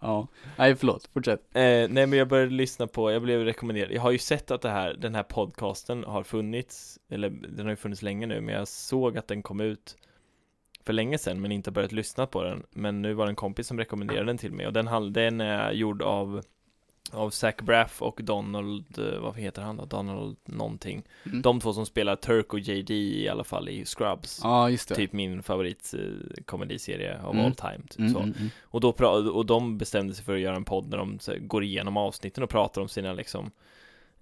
Ja. Nej, förlåt. Fortsätt. Eh, nej men jag började lyssna på, jag blev rekommenderad, jag har ju sett att det här, den här podcasten har funnits, eller den har ju funnits länge nu, men jag såg att den kom ut för länge sedan men inte börjat lyssna på den. Men nu var det en kompis som rekommenderade den till mig och den, handl- den är gjord av, av Zach Braff och Donald, eh, vad heter han då? Donald någonting. Mm. De två som spelar Turk och JD i alla fall i Scrubs. Ja, just det. Typ min favoritkomediserie av Mm. all time. Typ, Mm, så. mm, mm. Och, då pra- och de bestämde sig för att göra en podd när de så här går igenom avsnitten och pratar om sina liksom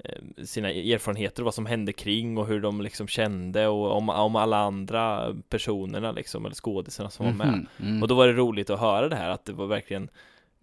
eh, sina erfarenheter och vad som hände kring och hur de liksom kände och om, om alla andra personerna liksom eller skådisarna som var med. Mhm, mm. Och då var det roligt att höra det här att det var verkligen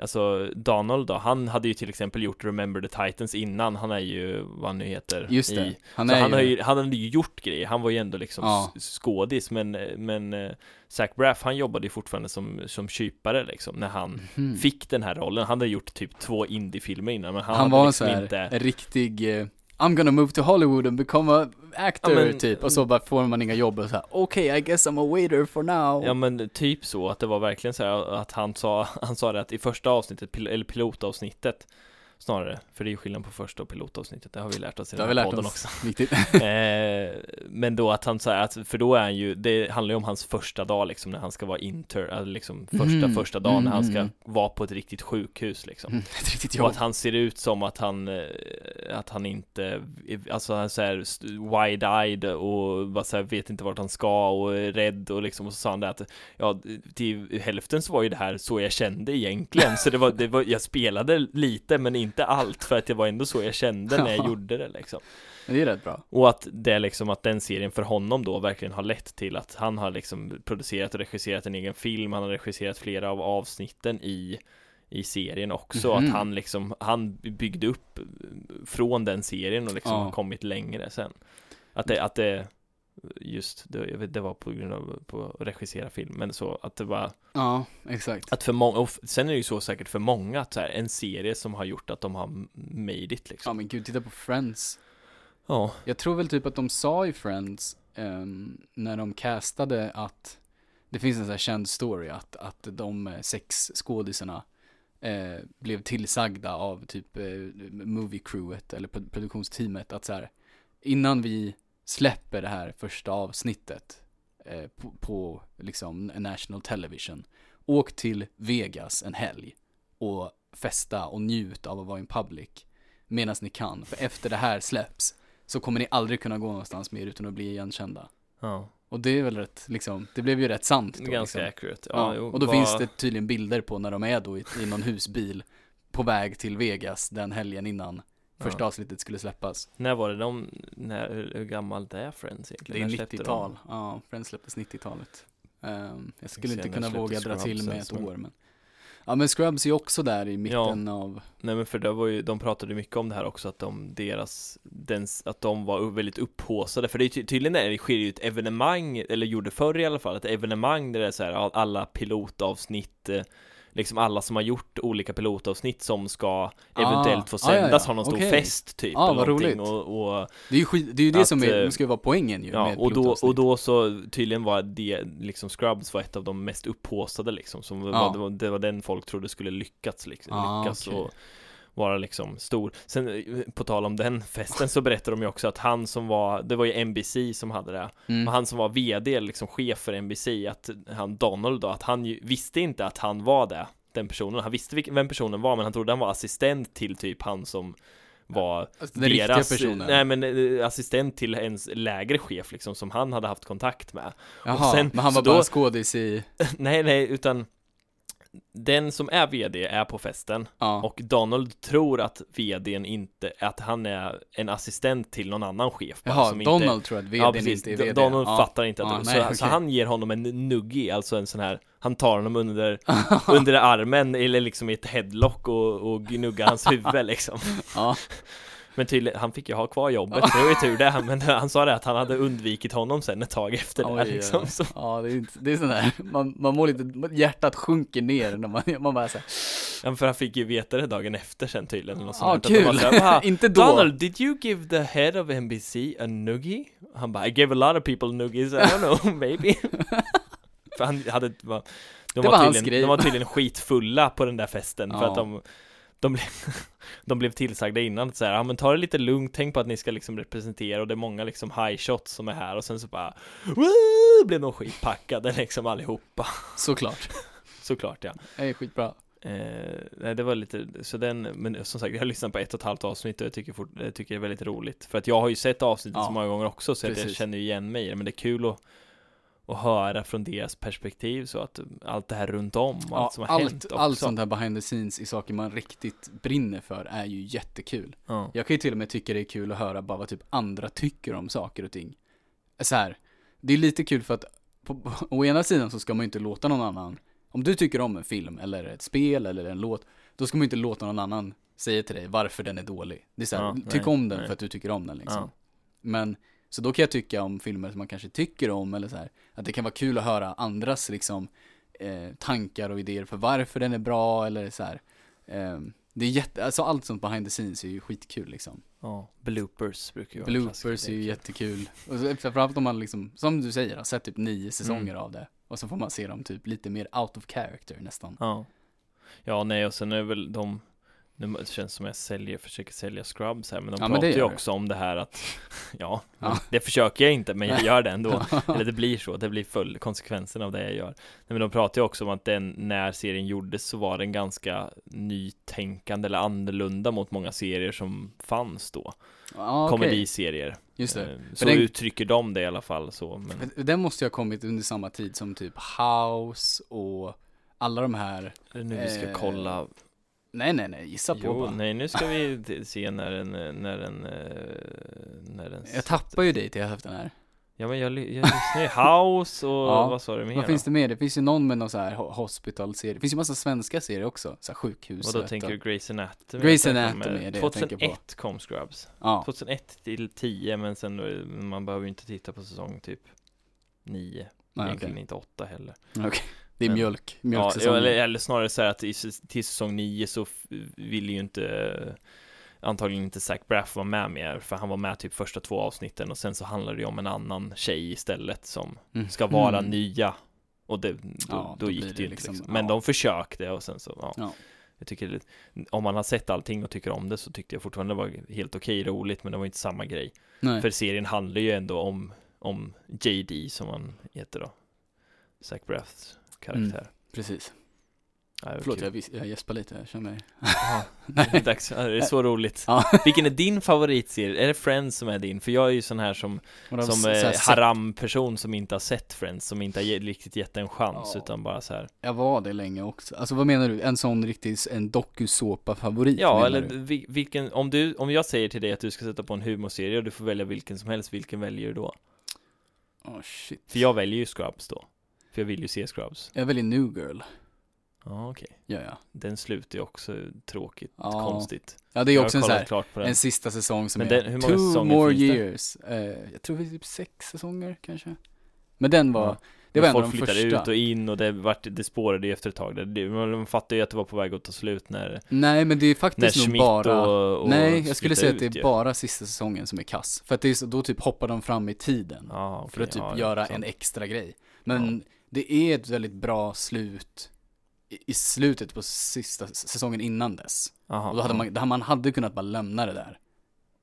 Alltså Donald då, han hade ju till exempel gjort Remember the Titans innan, han är ju vad han nu heter Just det. i Han så är han, har ju... ju, han hade ju gjort grejer, han var ju ändå liksom Ja. s- skådis men, men eh, Zach Braff han jobbade ju fortfarande som, som kypare liksom när han Mhm. fick den här rollen, han hade gjort typ två indiefilmer innan men han, Han, hade var en liksom så här, inte en riktig... eh, I'm gonna move to Hollywood and become a actor, Ja, men- typ. Och så bara får man inga jobb och så här, okej, I guess I'm a waiter for now. Ja men typ så, att det var verkligen så här att han sa, han sa det att i första avsnittet, pil, eller pilotavsnittet snarare, för det är ju skillnad på första och pilotavsnittet, det har vi lärt oss i det har den vi här lärt podden oss. också. Viktigt. eh, men då att han säger att, för då är han ju, det handlar ju om hans första dag liksom när han ska vara inter, eller liksom första, Mhm. första dagen när han ska Mhm. vara på ett riktigt sjukhus liksom. Mm, Ett riktigt Och jobb. att han ser ut som att han, eh, att han inte, alltså han är så här st- wide-eyed och bara så här vet inte vart han ska och är rädd och liksom, och så sa han det att, ja, till hälften så var ju det här så jag kände egentligen, så det var, det var jag spelade lite men inte allt för att det var ändå så jag kände när jag Ja. gjorde det liksom. Men det är rätt bra. Och att det är liksom att den serien för honom då verkligen har lett till att han har liksom producerat och regisserat en egen film, han har regisserat flera av avsnitten i i serien också, Mhm. att han liksom, han byggde upp eh, från den serien och liksom Ja. har kommit längre sen. Att det, att det just, det, jag vet, det var på grund av på att regissera film, men så att det var, Ja, exakt. att för många, och f- sen är det ju så säkert för många att så här, en serie som har gjort att de har made it Ja, liksom. men gud, titta på Friends. Ja, Jag tror väl typ att de sa i Friends, ehm, när de castade att det finns en sån här känd story att, att de eh, sex skådisarna eh, blev tillsagda av typ eh, movie crewet eller pro- produktionsteamet att så här, innan vi släpper det här första avsnittet eh, på, på liksom national television, åk till Vegas en helg och festa och njut av att vara in public medan ni kan, för efter det här släpps så kommer ni aldrig kunna gå någonstans mer utan att bli igenkända. ja. Och det är väl rätt, liksom, det blev ju rätt sant då. ganska liksom. accurate. ja, jo, Och då vad- finns det tydligen bilder på när de är då i, i någon husbil på väg till Vegas den helgen innan första avsnittet skulle släppas. När var det de, när, hur hur gammalt är Friends Det är egentligen? När släppte de? 90-tal. Ja, Friends släpptes 90-talet. Ehm, jag skulle se, inte när kunna släpptes våga dra till Scrubs med ett ens, men- år men. Ja men Scrubs är ju också där i mitten av, Nej men för det var ju, de pratade mycket om det här också att de, deras, dens, att de var u- väldigt upphaussade För det är ty- tydligen är det sker ju ett evenemang, eller gjorde förr i alla fall, ett evenemang där det är så här all- alla pilotavsnitt eh, Liksom alla som har gjort olika pilotavsnitt som ska Ah, eventuellt få ah, ja, ja. sändas har någon stor Okej. fest typ Ah, eller vad någonting, roligt. Och, och det är ju skit, det är ju det Att, som är, eh, ska ju vara poängen ju Ja, med och då, och pilotavsnitt. då så tydligen var det liksom Scrubs var ett av de mest upphaussade liksom som Ja. var, det, var, det var den folk trodde skulle lyckats liksom, Ah, lyckas okej. och vara liksom stor. Sen eh, på tal om den festen så berättade de ju också att han som var, det var ju NBC som hade det, Mm. och han som var vd, liksom chef för NBC, att han Donald då, att han ju visste inte att han var det, den personen. Han visste vilken, vem personen var, men han trodde han var assistent till typ han som var Alltså, den deras, riktiga personen. Nej men eh, assistent till ens lägre chef liksom som han hade haft kontakt med. Jaha, sen- men han var så då- bara skådis i, nej nej utan den som är vd är på festen ja. och Donald tror att vdn inte, att han är en assistent till någon annan chef. bara, Jaha, som inte- Donald tror att vdn ja, precis. inte är vd. Donald ja. fattar inte att Ja, det, nej, så, okej. så han ger honom en nuggi, alltså en sån här Han tar honom under, under armen eller liksom i ett headlock och, och gnuggar hans huvud liksom Ja. Men tydligen, han fick ju ha kvar jobbet, det var ju tur det Men han sa det att han hade undvikit honom sen ett tag efter det här, Oj, liksom ja. så, Ja, det är, inte, det är sån där, man, man mår lite, hjärtat sjunker ner när man, man bara såhär, ja, För han fick ju veta det dagen efter sen tydligen eller ja sånt där. Att de var kul, så här, "Va, inte då. Donald, did you give the head of NBC a noogie? Han bara, I gave a lot of people noogies, I don't know, maybe För han hade, var, de, Det var var hans tydligen, grej. de var tydligen skitfulla på den där festen för Ja. att de de blev, de blev tillsagda innan att så här, ja men ta det lite lugnt, tänk på att ni ska liksom representera och det är många liksom high shots som är här och sen så bara Woo! blev de skitpackade liksom allihopa, Såklart, såklart ja det är skitbra. Eh, nej, det var lite, så den, men som sagt, jag har lyssnat på ett och ett halvt avsnitt och jag tycker, fort, jag tycker det är väldigt roligt. För att jag har ju sett avsnittet Ja, så många gånger också, så att jag precis. känner ju igen mig i det. Men det är kul att, att höra från deras perspektiv, så att allt det här runt om, och Ja, allt som har hänt allt, också. allt sånt här behind the scenes i saker man riktigt brinner för är ju jättekul. ja. Jag kan ju till och med tycka det är kul att höra bara vad typ andra tycker om saker och ting. Så här, det är lite kul för att på, på, å ena sidan så ska man ju inte låta någon annan, om du tycker om en film eller ett spel eller en låt, då ska man ju inte låta någon annan säga till dig varför den är dålig. Det är så här, Ja, tyck nej, om den nej. för att du tycker om den liksom. Ja. Men, så då kan jag tycka om filmer som man kanske tycker om eller så här, att det kan vara kul att höra andras liksom eh, tankar och idéer för varför den är bra eller så här. Eh, det är jätte, alltså allt sånt behind the scenes är ju skitkul liksom. Ja. Bloopers brukar ju vara en Bloopers är klassiker. ju jättekul. Och så, framförallt om man liksom, som du säger, har sett typ nio säsonger Mm. av det. Och så får man se dem typ lite mer out of character nästan. Ja. ja, nej och sen är väl de nu känns det som jag säljer, försöker sälja scrubs här men de Ja, men pratar det ju gör du. också om det här att Ja, Ja. det försöker jag inte men jag gör det ändå Eller det blir så, det blir full konsekvensen av det jag gör Nej men de pratar ju också om att den, när serien gjordes så var den ganska nytänkande eller annorlunda mot många serier som fanns då Ja, okej. Komediserier Just det. Eh, Så den- uttrycker de det i alla fall så men För Den måste ju ha kommit under samma tid som typ House och alla de här. nu vi ska eh, kolla Nej, nej, nej, gissa på Jo, bara. nej nu ska vi t- se när den, eh, när den, eh, när den Jag tappar ju dig till hälften här. Ja men jag, ly- jag lyssnar ju House och Ja, vad sa du mer Vad finns det mer? Det finns ju någon med någon så här ho- hospital-serie. Det finns ju massa svenska serier också. Så här sjukhuset. Och då tänker du och, Grey's Anatomy Grey's Jag tänker Anatomy är det jag tänker på. 2001 kom Scrubs ja. 2001 till 10 men sen eh, man behöver ju inte titta på säsong typ 9 Nej, Egentligen okej. inte 8 heller Det är Men- mjölk. Ja, Mjölksäsongen. eller, eller snarare så här att i, s- till säsong 9 så f- ville ju inte eh, Antagligen inte Zach Braff vara med mer för han var med typ första två avsnitten och sen så handlar det ju om en annan tjej istället som Mm. ska vara Mm. nya Och det, då, Ja, då, då gick blir det ju det inte liksom- liksom. Men ja. de försökte och sen så ja. Ja. Jag tycker det, Om man har sett allting och tycker om det så tyckte jag fortfarande det var helt okej roligt Men det var inte samma grej Nej. För serien handlar ju ändå om, om JD som han heter då Zach Braffs karaktär Precis. Ja, det var Mm. Förlåt, kul. jag, vis- jag gäspar lite, jag känner mig... Ja, det är Nej. dags. Ja, det är så roligt. Ja. Vilken är din favoritserie? Är det Friends som är din? För jag är ju sån här som, Vadå, så- som så här eh, sett- haram-person som inte har sett Friends, som inte har ge- riktigt gett en chans, Ja. utan bara så här. Jag var det länge också. Alltså vad menar du? En sån riktig, en dokusåpa-favorit Ja, menar eller du? vi- vilken, om du, om jag säger till dig att du ska sätta på en humorserie och du får välja vilken som helst, vilken väljer du då? Åh, shit. För jag väljer ju Scrubs då. För jag vill ju se Scrubs. Jag väljer New Girl, Ja, ah, okej. gör jag. Den slutar ju också tråkigt, Ja. konstigt. Ja, det är Jag ju har också en sån kollat här, klart på den. en sista säsong som Men är den- hur många two säsonger more finns det? years. Eh, jag tror det är typ sex säsonger kanske. Men den var, Ja. det Men var en av folk de flyttade första. ut och in och det, vart, det spårade ju efter ett tag. där. Det, man fattar ju att det var på väg att ta slut när, Nej, men det är när faktiskt nog Schmidt bara... och, och nej, jag skulle flyttade säga att det ut är ju. bara sista säsongen som är kass. För att det är så, då typ hoppar de fram i tiden. Ja, okej, För att typ ja, göra sant. en extra grej. Men det är ett väldigt bra slut i i slutet på sista s- säsongen innan dess. Aha, Och då hade ja. man, där man hade kunnat bara lämna det där.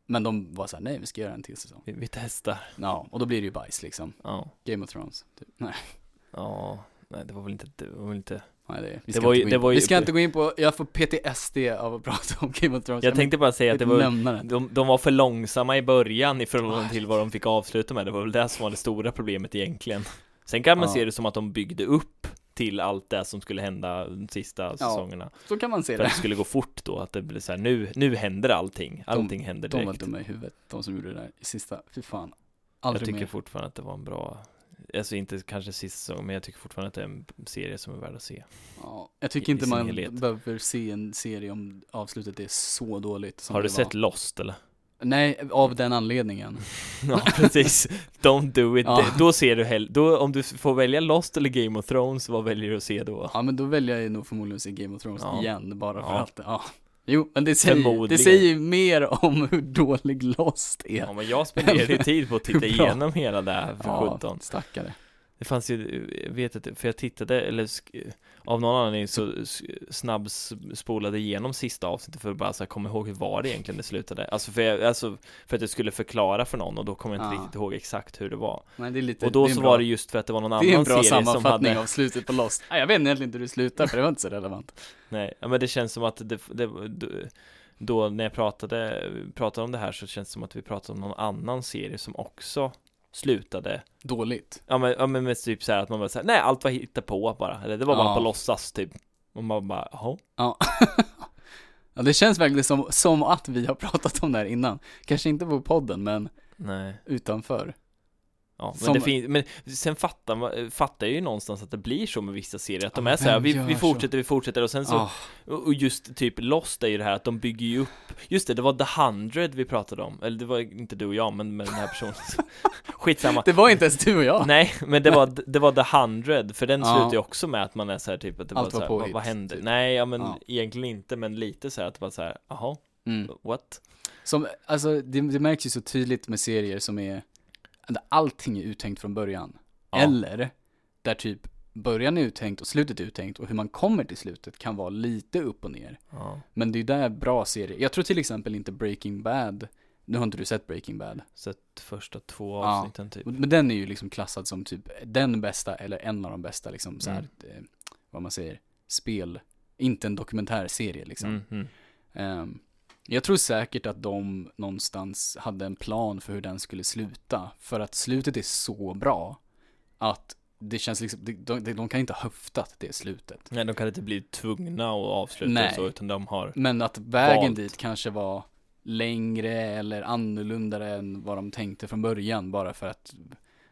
Men de var såhär, nej vi ska göra en till säsong. vi, vi testar. Ja, och då blir det ju bajs liksom. Ja. Game of Thrones. Typ. Nej, ja. Nej, det var väl inte, det var väl inte. nej det, vi Det ska, var ju- inte, gå det in, var ju- vi ska inte gå in på, jag får PTSD av att prata om Game of Thrones. Jag tänkte bara säga att det var, Nämna det. de, de var för långsamma i början i förhållande Ah. till vad de fick avsluta med. Det var väl det som var det stora problemet egentligen. Sen kan man Ja. se det som att de byggde upp till allt det som skulle hända de sista säsongerna. Så kan man se För att det. det skulle gå fort då, att det blir så här, nu, nu händer allting. Allting händer De var direkt. dumma i huvudet, de som gjorde det där i sista. Fy fan. Jag Aldrig tycker mer. fortfarande att det var en bra, alltså inte kanske sista säsongen, men jag tycker fortfarande att det är en serie som är värd att se. Ja, jag tycker i inte sin man helhet. behöver se en serie om avslutet är så dåligt som Har du det sett Var. Lost eller? Nej, av den anledningen. Ja, precis. Don't do it. Ja. Det- Då ser du hell- då om du får välja Lost eller Game of Thrones, vad väljer du att se då? Ja, men då väljer jag ju nog förmodligen att se Game of Thrones Ja. igen, bara för Ja. att, ja. Jo, men det säger, det Förmodligen. säger ju mer om hur dålig Lost är. Ja, men jag spenderade ju tid på att titta Hur bra. igenom hela det här för Ja, 17. stackare. Det fanns ju, jag vet inte, för jag tittade, eller sk- av någon anledning så s- snabbspolade igenom sista avsnittet för att bara så här, komma ihåg hur var det egentligen det slutade. Alltså för, jag, alltså för att jag skulle förklara för någon och då kom jag inte Ja. riktigt ihåg exakt hur det var. Men det är lite, Och då det är så en bra, var det just för att det var någon det är en annan bra serie som sammanfattning hade... av slutet på Lost. Nej, jag vet egentligen inte hur det slutar, för det var inte så relevant. Nej, ja, men det känns som att det, det, då när jag pratade, pratade om det här så känns det som att vi pratade om någon annan serie som också slutade Dåligt. Ja men, ja, men med typ så här att man bara såhär, nej allt var hittepå bara, eller det var bara Ja. på låtsas typ Och man bara, jaha? Ja. ja, det känns verkligen som, som att vi har pratat om det här innan. Kanske inte på podden, men Nej utanför. Ja, men Som- det finns, men sen fattar, man- fattar jag ju någonstans att det blir så med vissa serier, att de Ja, är så här, vem vi, gör vi så?" fortsätter, vi fortsätter och sen så, Ah, och och just typ Lost är ju det här att de bygger ju upp, just det, det var The Hundred vi pratade om, eller det var inte du och jag, men med den här personen Skitsamma Ah, det var inte ens du och jag. Nej, men det var, det var The Hundred, för den Ja. slutar ju också med att man är så här typ att det Allt bara så var här, vad, påhitt, vad hände? typ. Nej, ja men Ja. egentligen inte, men lite så här att det bara så här, jaha, Mm. what? Som, alltså, det, det märks ju så tydligt med serier som är, där allting är uttänkt från början. Ja. Eller, där typ början är uttänkt och slutet är uttänkt och hur man kommer till slutet kan vara lite upp och ner. Ja. Men det är ju där bra serier, jag tror till exempel inte Breaking Bad, nu har inte du sett Breaking Bad, Sett första två Ja. avsnitten typ. men den är ju liksom klassad som typ den bästa eller en av de bästa liksom så här, eh, vad man säger, spel, inte en dokumentärserie liksom. Mm, mm. Ehm, jag tror säkert att de någonstans hade en plan för hur den skulle sluta. För att slutet är så bra att det känns liksom, de, de, de kan inte ha höftat det slutet. Nej, de kan inte bli tvungna att avsluta Nej. och så, utan de har, Men att vägen Valt. dit kanske var längre eller annorlunda än vad de tänkte från början bara för att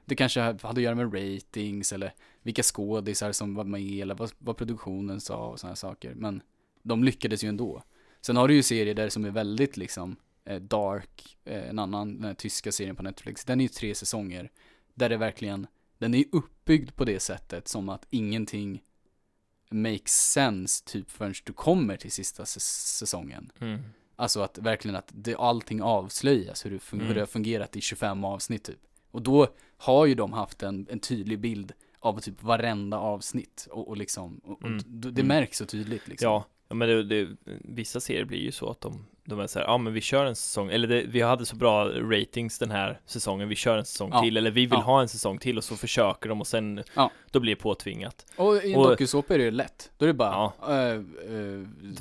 det kanske hade att göra med ratings eller vilka skådisar som var med eller vad, vad produktionen sa och sådana saker. Men de lyckades ju ändå. Sen har du ju serier där som är väldigt liksom eh, dark, eh, en annan, den här tyska serien på Netflix, den är ju tre säsonger där det verkligen, den är ju uppbyggd på det sättet som att ingenting makes sense typ förrän du kommer till sista säs- säsongen. mm. Alltså att verkligen att det, allting avslöjas, hur det, fun- Mm. hur det har fungerat i 25 avsnitt typ. Och då har ju de haft en, en tydlig bild av typ varenda avsnitt och, och liksom, och, och Mm. d- det Mm. märks så tydligt liksom. ja, ja men det, det, vissa serier blir ju så att de de är så här, ja men vi kör en säsong, eller det, vi hade så bra ratings den här säsongen, vi kör en säsong Ja. till, eller vi vill Ja. ha en säsong till och så försöker de och sen, Ja. då blir det påtvingat. Och i en Och- dokusåpa är det ju lätt. Då är det bara... Ja. eh, eh,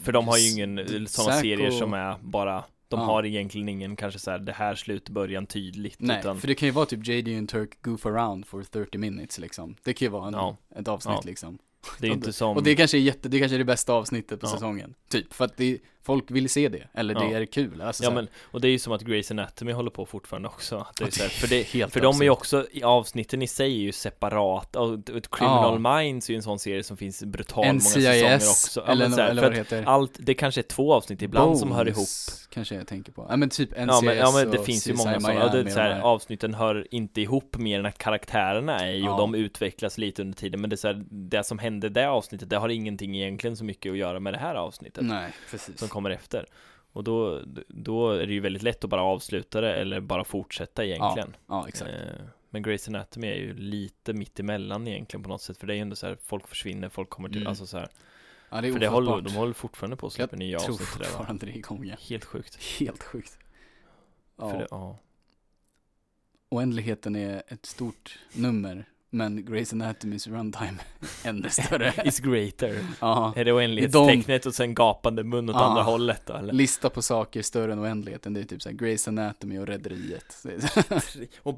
För de har ju s- ingen, s- sådana Zack serier och- som är bara, de Ja. har egentligen ingen kanske så här, det här slut, början tydligt, Nej, utan för det kan ju vara typ JD and Turk goof around for 30 minutes liksom. Det kan ju vara en, Ja. ett avsnitt Ja. liksom. det är ju inte som, Och det kanske är jätte, det kanske är det bästa avsnittet på Ja. säsongen. Typ, för att det, folk vill se det. Eller det Ja. är kul. Alltså, ja så här- men, och det är ju som att Grey's Anatomy håller på fortfarande också, att det är Och så här, för det helt För de är ju absurt. också, i avsnitten i sig är ju separata, och ett- ett Criminal Ja. Minds är ju en sån serie som finns brutalt många säsonger NCIS, också. Ja, eller, men så här, eller för vad det att heter. allt, det kanske är två avsnitt ibland som hör ihop. Bones kanske jag tänker på. Ja men typ NCIS Ja men, ja, men det och finns ju CSI många sådana, Miami ja, det är och så här, de här. avsnitten hör inte ihop mer än att karaktärerna är i och Ja. de utvecklas lite under tiden, men det, är så här, det som hände i det avsnittet, det har ingenting egentligen så mycket att göra med det här avsnittet Nej, precis. typ, som kommer efter. Och då, då är det ju väldigt lätt att bara avsluta det eller bara fortsätta egentligen. Ja, exakt. Eh, Men Grey's Anatomy är ju lite mitt emellan egentligen på något sätt, för det är ju ändå så här, folk försvinner, folk kommer till, Mm. alltså så här. Ja, det är För det håller, de ofattbart. håller fortfarande på att släppa nya Tror avsnitt till det va? fortfarande det är igång ja. Helt sjukt. Helt sjukt. Ja. För det, ja. Oändligheten är ett stort nummer, men Grey's Anatomys runtime är ännu större. It's greater. ja. Är det oändlighetstecknet och sen gapande mun åt Ja. andra hållet då, eller? Lista på saker större än oändligheten, det är typ såhär Grey's Anatomy och Rederiet. Det är så- Och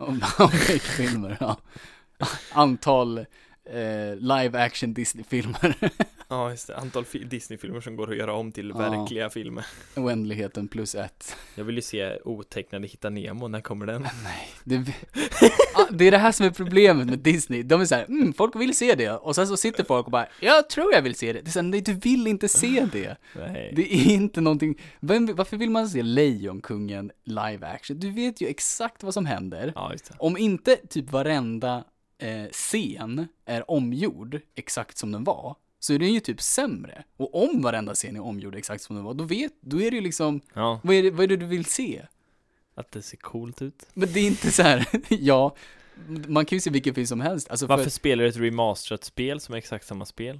Om om Beck-filmer, ja. Antal eh, live action Disney-filmer. Ja, just det. Antal fi- Disney-filmer som går att göra om till Ja. verkliga filmer. Oändligheten plus ett. Jag vill ju se otecknade Hitta Nemo, när kommer den? Nej, det, Ah, det är det här som är problemet med Disney. De är såhär, mm, folk vill se det. Och sen så sitter folk och bara, jag tror jag vill se det. Det är såhär, nej du vill inte se det. Nej. Det är inte någonting, vem, varför vill man se Lejonkungen live action? Du vet ju exakt vad som händer. Ja, just det. Om inte typ varenda eh, scen är omgjord exakt som den var, så är den ju typ sämre. Och om varenda scen är omgjord exakt som den var, då vet, då är det ju liksom, Ja, vad är det, vad är det du vill se? att det ser coolt ut. Men det är inte så här, ja, man kan ju se vilken film som helst. Alltså Varför för, spelar du ett remasterat spel som är exakt samma spel?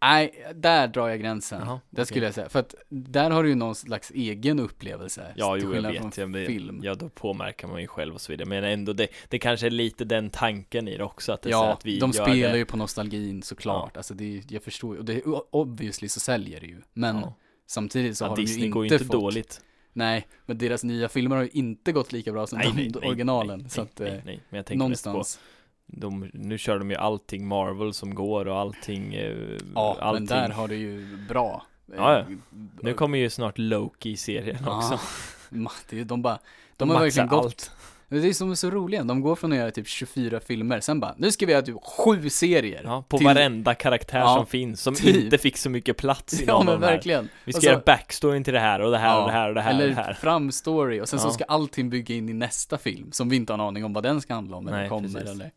nej, där drar jag gränsen. Jaha, där okej. skulle jag säga, för att där har du ju någon slags egen upplevelse. Ja, till jo, jag skillnad vet. från Jag, vet. film. ja, då påmärkar man ju själv och så vidare. Men ändå, det, det kanske är lite den tanken i det också. Att det är så här Ja, att vi de gör spelar det. ju på nostalgin såklart. Alltså det, är- jag förstår ju, och det, är- obviously så säljer det ju. Men Ja. samtidigt så Ja, har Disney de ju inte, går ju inte fått, dåligt. Nej, men deras nya filmer har ju inte gått lika bra som de originalen. nej, så att, nej, eh, nej, nej. Men jag tänker någonstans. någonstans. På, de, nu kör de ju allting Marvel som går och allting. Eh, Ja, allting. men där har det ju bra. eh, Ja, ja. Nu kommer ju snart Loki i serien Ja, också. ma- det är- De bara, de, har maxar verkligen gått. Det är som är så roliga, de går från att göra typ 24 filmer, sen bara, nu ska vi göra typ sju serier. Ja, på till- varenda karaktär Ja, som finns, som typ. inte fick så mycket plats i Ja någon men av de här. verkligen. Vi Och ska så- göra backstoryn till det här och det här och det här och det här. och Eller det här. fram story och sen så Ja. ska allting bygga in i nästa film som vi inte har en aning om vad den ska handla om eller Nej, kommer precis. eller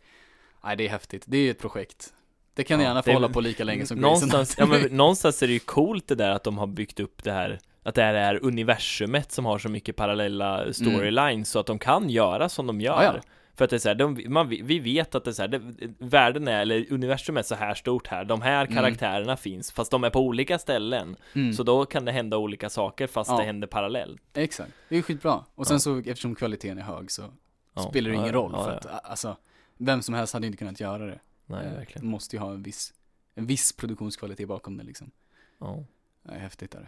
Nej det är häftigt, det är ett projekt Det kan ni Ja, gärna få det är- hålla på lika länge som någonstans, Grey's ja, Anatomy. men, någonstans är det ju coolt det där att de har byggt upp det här att det här är universumet som har så mycket parallella storylines så att de kan göra som de gör. Ja, ja. För att det är så här, de, man, vi vet att det är så här, det, världen är, eller universum är så här stort här, de här Mm. karaktärerna finns, fast de är på olika ställen. mm, Så då kan det hända olika saker fast Ja. det händer parallellt. Exakt, det är skitbra Och sen Ja. så eftersom kvaliteten är hög så Ja. spelar det Ja, ingen ja, roll ja, för ja. att a- alltså Vem som helst hade inte kunnat göra det Nej, Eh, verkligen. Måste ju ha en viss, en viss produktionskvalitet bakom det liksom Ja, Det är häftigt är det,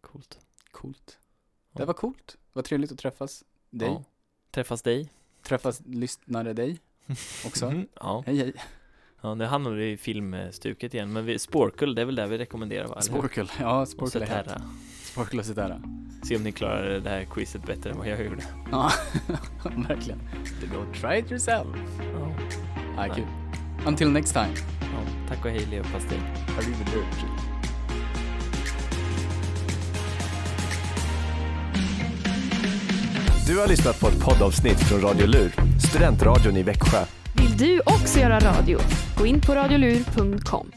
coolt. coolt Ja. Det var coolt, vad trevligt att träffas dig, Ja. Träffas dig? träffas lyssnare dig också Mhm. Ja. Hej hej ja, nu hamnar vi i filmstuket igen, men vi, Sporkul, det är väl det vi rekommenderar va? Eller hur? Sporkel, ja Och Sporkel är hett. Zetterra. Sporkel och Cetera. Se om ni klarar det här quizet bättre än vad jag gjorde. Ja, verkligen. Go try it yourself. Ja. Ah, kul. Until next time. Ja. Tack och hej leverpastej. Arrivederci. Du har lyssnat på ett poddavsnitt från Radio Lur, studentradion i Växjö. Vill du också göra radio? Gå in på radiolur.com.